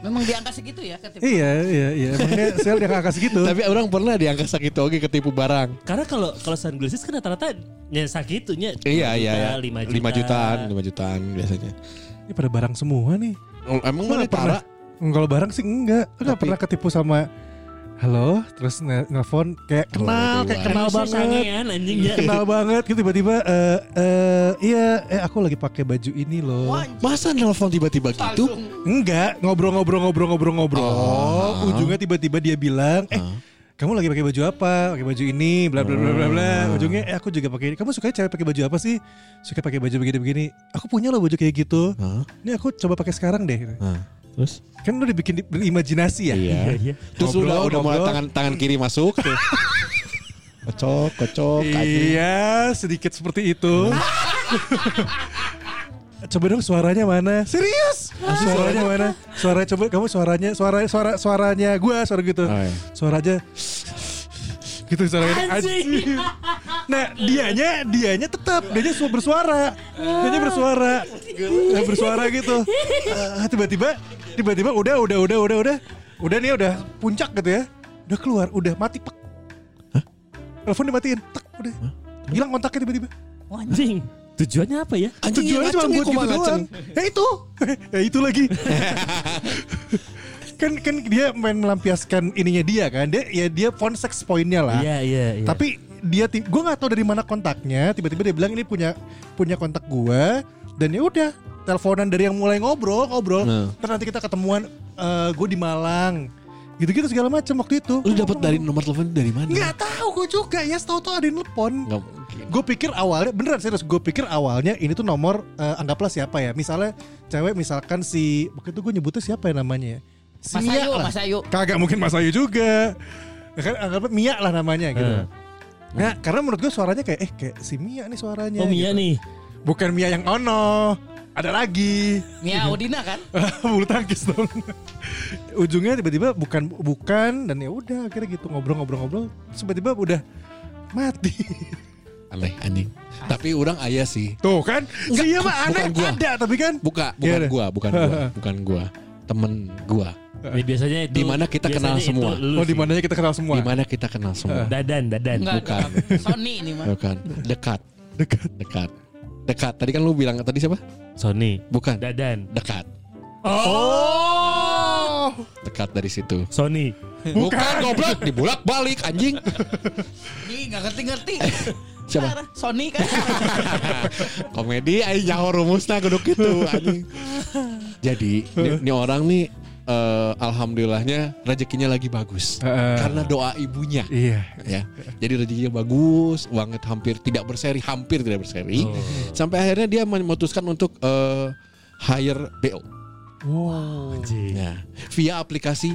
Memang di angka segitu ya ketipu.
Iya iya iya. Makanya sel dia kakak segitu.
Tapi orang pernah di angka sakit oge ketipu barang.
Karena kalau kalau sunglasses kan rata-rata ya sakitunya
Iya iya iya.
5 juta.
5 jutaan, 5 jutaan biasanya.
Ini pada barang semua nih.
Oh, Emang mana
Mana
tara?
pernah? Kalau barang sih enggak. Enggak
Tapi-
pernah ketipu sama Halo, terus ne- nelfon kayak
Oh,
kenal,
Waduh,
kayak kenal
Harusnya
banget.
sangean anjingnya.
Kenal banget gitu tiba-tiba eh eh, iya eh aku lagi pakai baju ini loh.
Wah,
Masa nelfon tiba-tiba gitu?
langsung.
Enggak, ngobrol-ngobrol-ngobrol-ngobrol-ngobrol.
Oh.
Ujungnya tiba-tiba dia bilang, "Eh, kamu lagi pakai baju apa? Pakai baju ini, bla bla bla bla bla."
Hmm.
Ujungnya, "Eh, aku juga pakai ini. Kamu suka cewek pakai baju apa sih?" Suka pakai baju begini-begini. Aku punya loh baju kayak gitu.
Hah?
Ini aku coba pakai sekarang deh.
Nah, terus?
Kan udah dibikin di- berimajinasi ya.
Iya.
Terus
Ngobrol,
udah udah mulai
ngobrol.
tangan tangan kiri masuk. tuh. kocok, kocok. anjing.
Iya, sedikit seperti itu. *laughs* coba dong suaranya mana? Serius? Suaranya mana? Suaranya coba kamu suaranya suara suara suaranya gua suara
Oh,
gitu.
iya.
Suara aja gitu suaranya. Anjing. Nah, dianya dianya tetap dianya su- bersuara. Dianya bersuara. Nah, bersuara gitu. Eh, tiba-tiba tiba-tiba udah udah udah udah udah. Udah nih udah puncak gitu ya. Udah keluar, udah mati pek. Telepon dimatiin, tek udah. Hilang kontaknya tiba-tiba.
Oh,
*laughs*
Anjing. Tujuannya apa ya?
Anjing,
Tujuannya
ya
cuma
ngaceng,
buat
ya,
gitu
kumaha ngaceng.
doang. Ya itu. *laughs* ya itu
*laughs*
lagi. kan kan dia main melampiaskan ininya dia kan. Dia ya dia fonsex poinnya lah.
Iya iya iya.
Tapi dia ti- gua nggak tahu dari mana kontaknya, tiba-tiba dia bilang ini punya punya kontak gua dan ya udah teleponan dari yang mulai ngobrol ngobrol
Nah.
terus nanti kita ketemuan eh, gua di Malang gitu-gitu segala macam waktu itu
Lu dapat dari nomor telepon dari mana?
nggak tahu gua juga ya tahu tuh ada yang telepon
Nggak mungkin.
Gue pikir awalnya beneran serius gue pikir awalnya ini tuh nomor eh, anggaplah siapa ya misalnya cewek misalkan si waktu itu gue nyebutnya siapa ya namanya ya? Si
Mas
Mia
Ayu,
lah.
Mas Ayu.
kagak mungkin Mas Ayu juga Ya kan anggaplah Mia lah namanya gitu
Hmm.
nah karena menurut gue suaranya kayak eh kayak si Mia nih
Oh
suaranya
Mia
iya
gitu.
nih.
bukan Mia yang Ono ada lagi *laughs*
Mia Udina kan?
bulu tangkis dong *laughs* ujungnya tiba-tiba bukan bukan dan ya udah akhirnya gitu ngobrol-ngobrol-ngobrol Terus tiba-tiba udah mati *laughs*
Aneh anjing. Tapi orang ayah sih.
Tuh kan, dia
bukan
mah aneh
gua.
ada tapi kan.
Buka, bukan
Iya, deh.
gua, bukan gua, bukan gua. Temen gua.
Ya, biasanya itu
Dimana kita kenal
biasanya
semua.
itu lu
Oh
sih.
di mananya kita kenal semua.
Dimana kita kenal semua.
Dadan, dadan.
Enggak,
Bukan.
enggak. Sony ini mah.
Bukan. kan? Dekat,
Dekat.
dekat. Dekat. Tadi kan lu bilang tadi siapa?
Sony,
Bukan.
dadan.
Dekat.
Oh.
Dekat dari situ.
Sony.
Bukan goblok, dibulak balik anjing.
Ih, nggak ngerti-ngerti.
*laughs*
Siapa?
Ntar, Sony kan. *laughs*
Komedi aing nyaho rumusna kudu kitu anjing. Jadi, ini, ini orang nih eh, alhamdulillahnya rezekinya lagi bagus
Heeh.
karena doa ibunya.
Iya.
ya. Jadi rezekinya bagus, uangnya hampir tidak berseri, hampir tidak berseri. Sampai akhirnya dia memutuskan untuk eh, hire BO.
Wow.
Nah, via aplikasi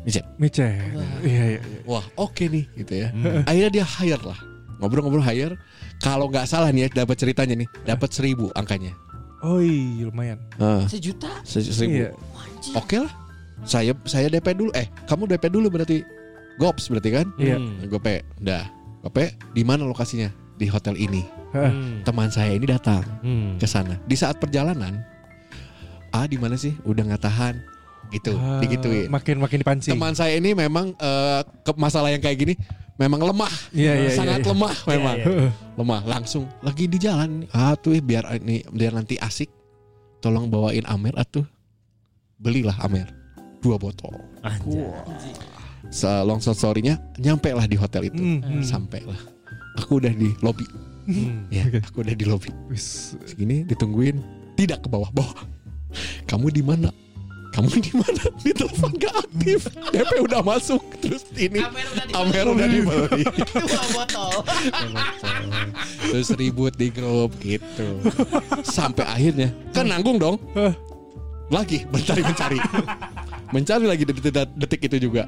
Micet.
Mice. Iya, iya, iya.
Wah, oke nih gitu ya. *laughs* Akhirnya dia hire lah. Ngobrol-ngobrol hire. Kalau nggak salah nih ya dapat ceritanya nih, dapat seribu angkanya.
Oi, Oh, iya, lumayan.
Heeh.
Sejuta.
Ah. se- seribu.
Iya.
Oke lah. Saya saya DP dulu. Eh, kamu DP dulu berarti gops berarti kan?
Iya.
Gope. Dah. Gope di mana lokasinya? Di hotel ini.
Heeh.
Teman saya ini datang.
Hmm.
ke sana. Di saat perjalanan, ah di mana sih? Udah nggak tahan, gitu,
Ah,
digituin.
Makin makin dipancing.
Teman saya ini memang eh, ke masalah yang kayak gini memang lemah,
Iya, iya,
sangat
*laughs* iya, iya.
lemah memang,
Iya, iya.
lemah. Langsung lagi di jalan, ah tuh eh, biar ini biar nanti asik, tolong bawain Amer atuh, belilah Amer dua botol.
Anjay.
Se Longsor story-nya nyampe lah di hotel itu,
Hmm, hmm.
sampai lah. Aku udah di lobby, ya, aku udah di lobby.
Wis.
Segini ditungguin tidak ke bawah bawah. Kamu di mana? Kamu di mana? *laughs* Di telepon gak aktif. DP udah masuk. Terus ini
Amer udah
Amer udah dibeli.
dibeli. Dua botol.
*laughs* Terus ribut di grup gitu. Sampai akhirnya kan nanggung dong.
Hah.
Lagi mencari mencari. Mencari lagi di detik, detik itu juga.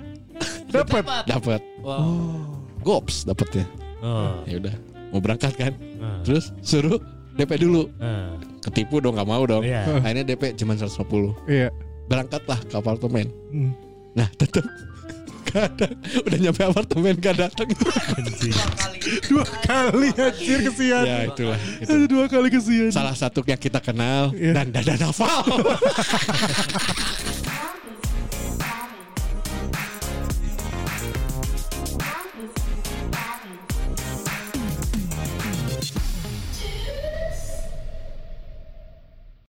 Dapat.
Dapat. Oh. Gops dapatnya.
Oh.
Ya udah mau berangkat kan.
Ah.
Terus suruh DP dulu.
Ah.
Ketipu dong nggak mau dong.
Iya.
Akhirnya DP cuma 150.
Iya.
berangkatlah ke apartemen.
Hmm.
Nah, tetep *laughs* gak ada. Udah nyampe apartemen gak
*laughs*
datang.
Dua kali anjir kesian.
ya itulah.
Aduh, Iya.
Itu.
Dua kali kesian. *laughs*
Salah satu yang kita kenal
Iya.
dan Dada Naval.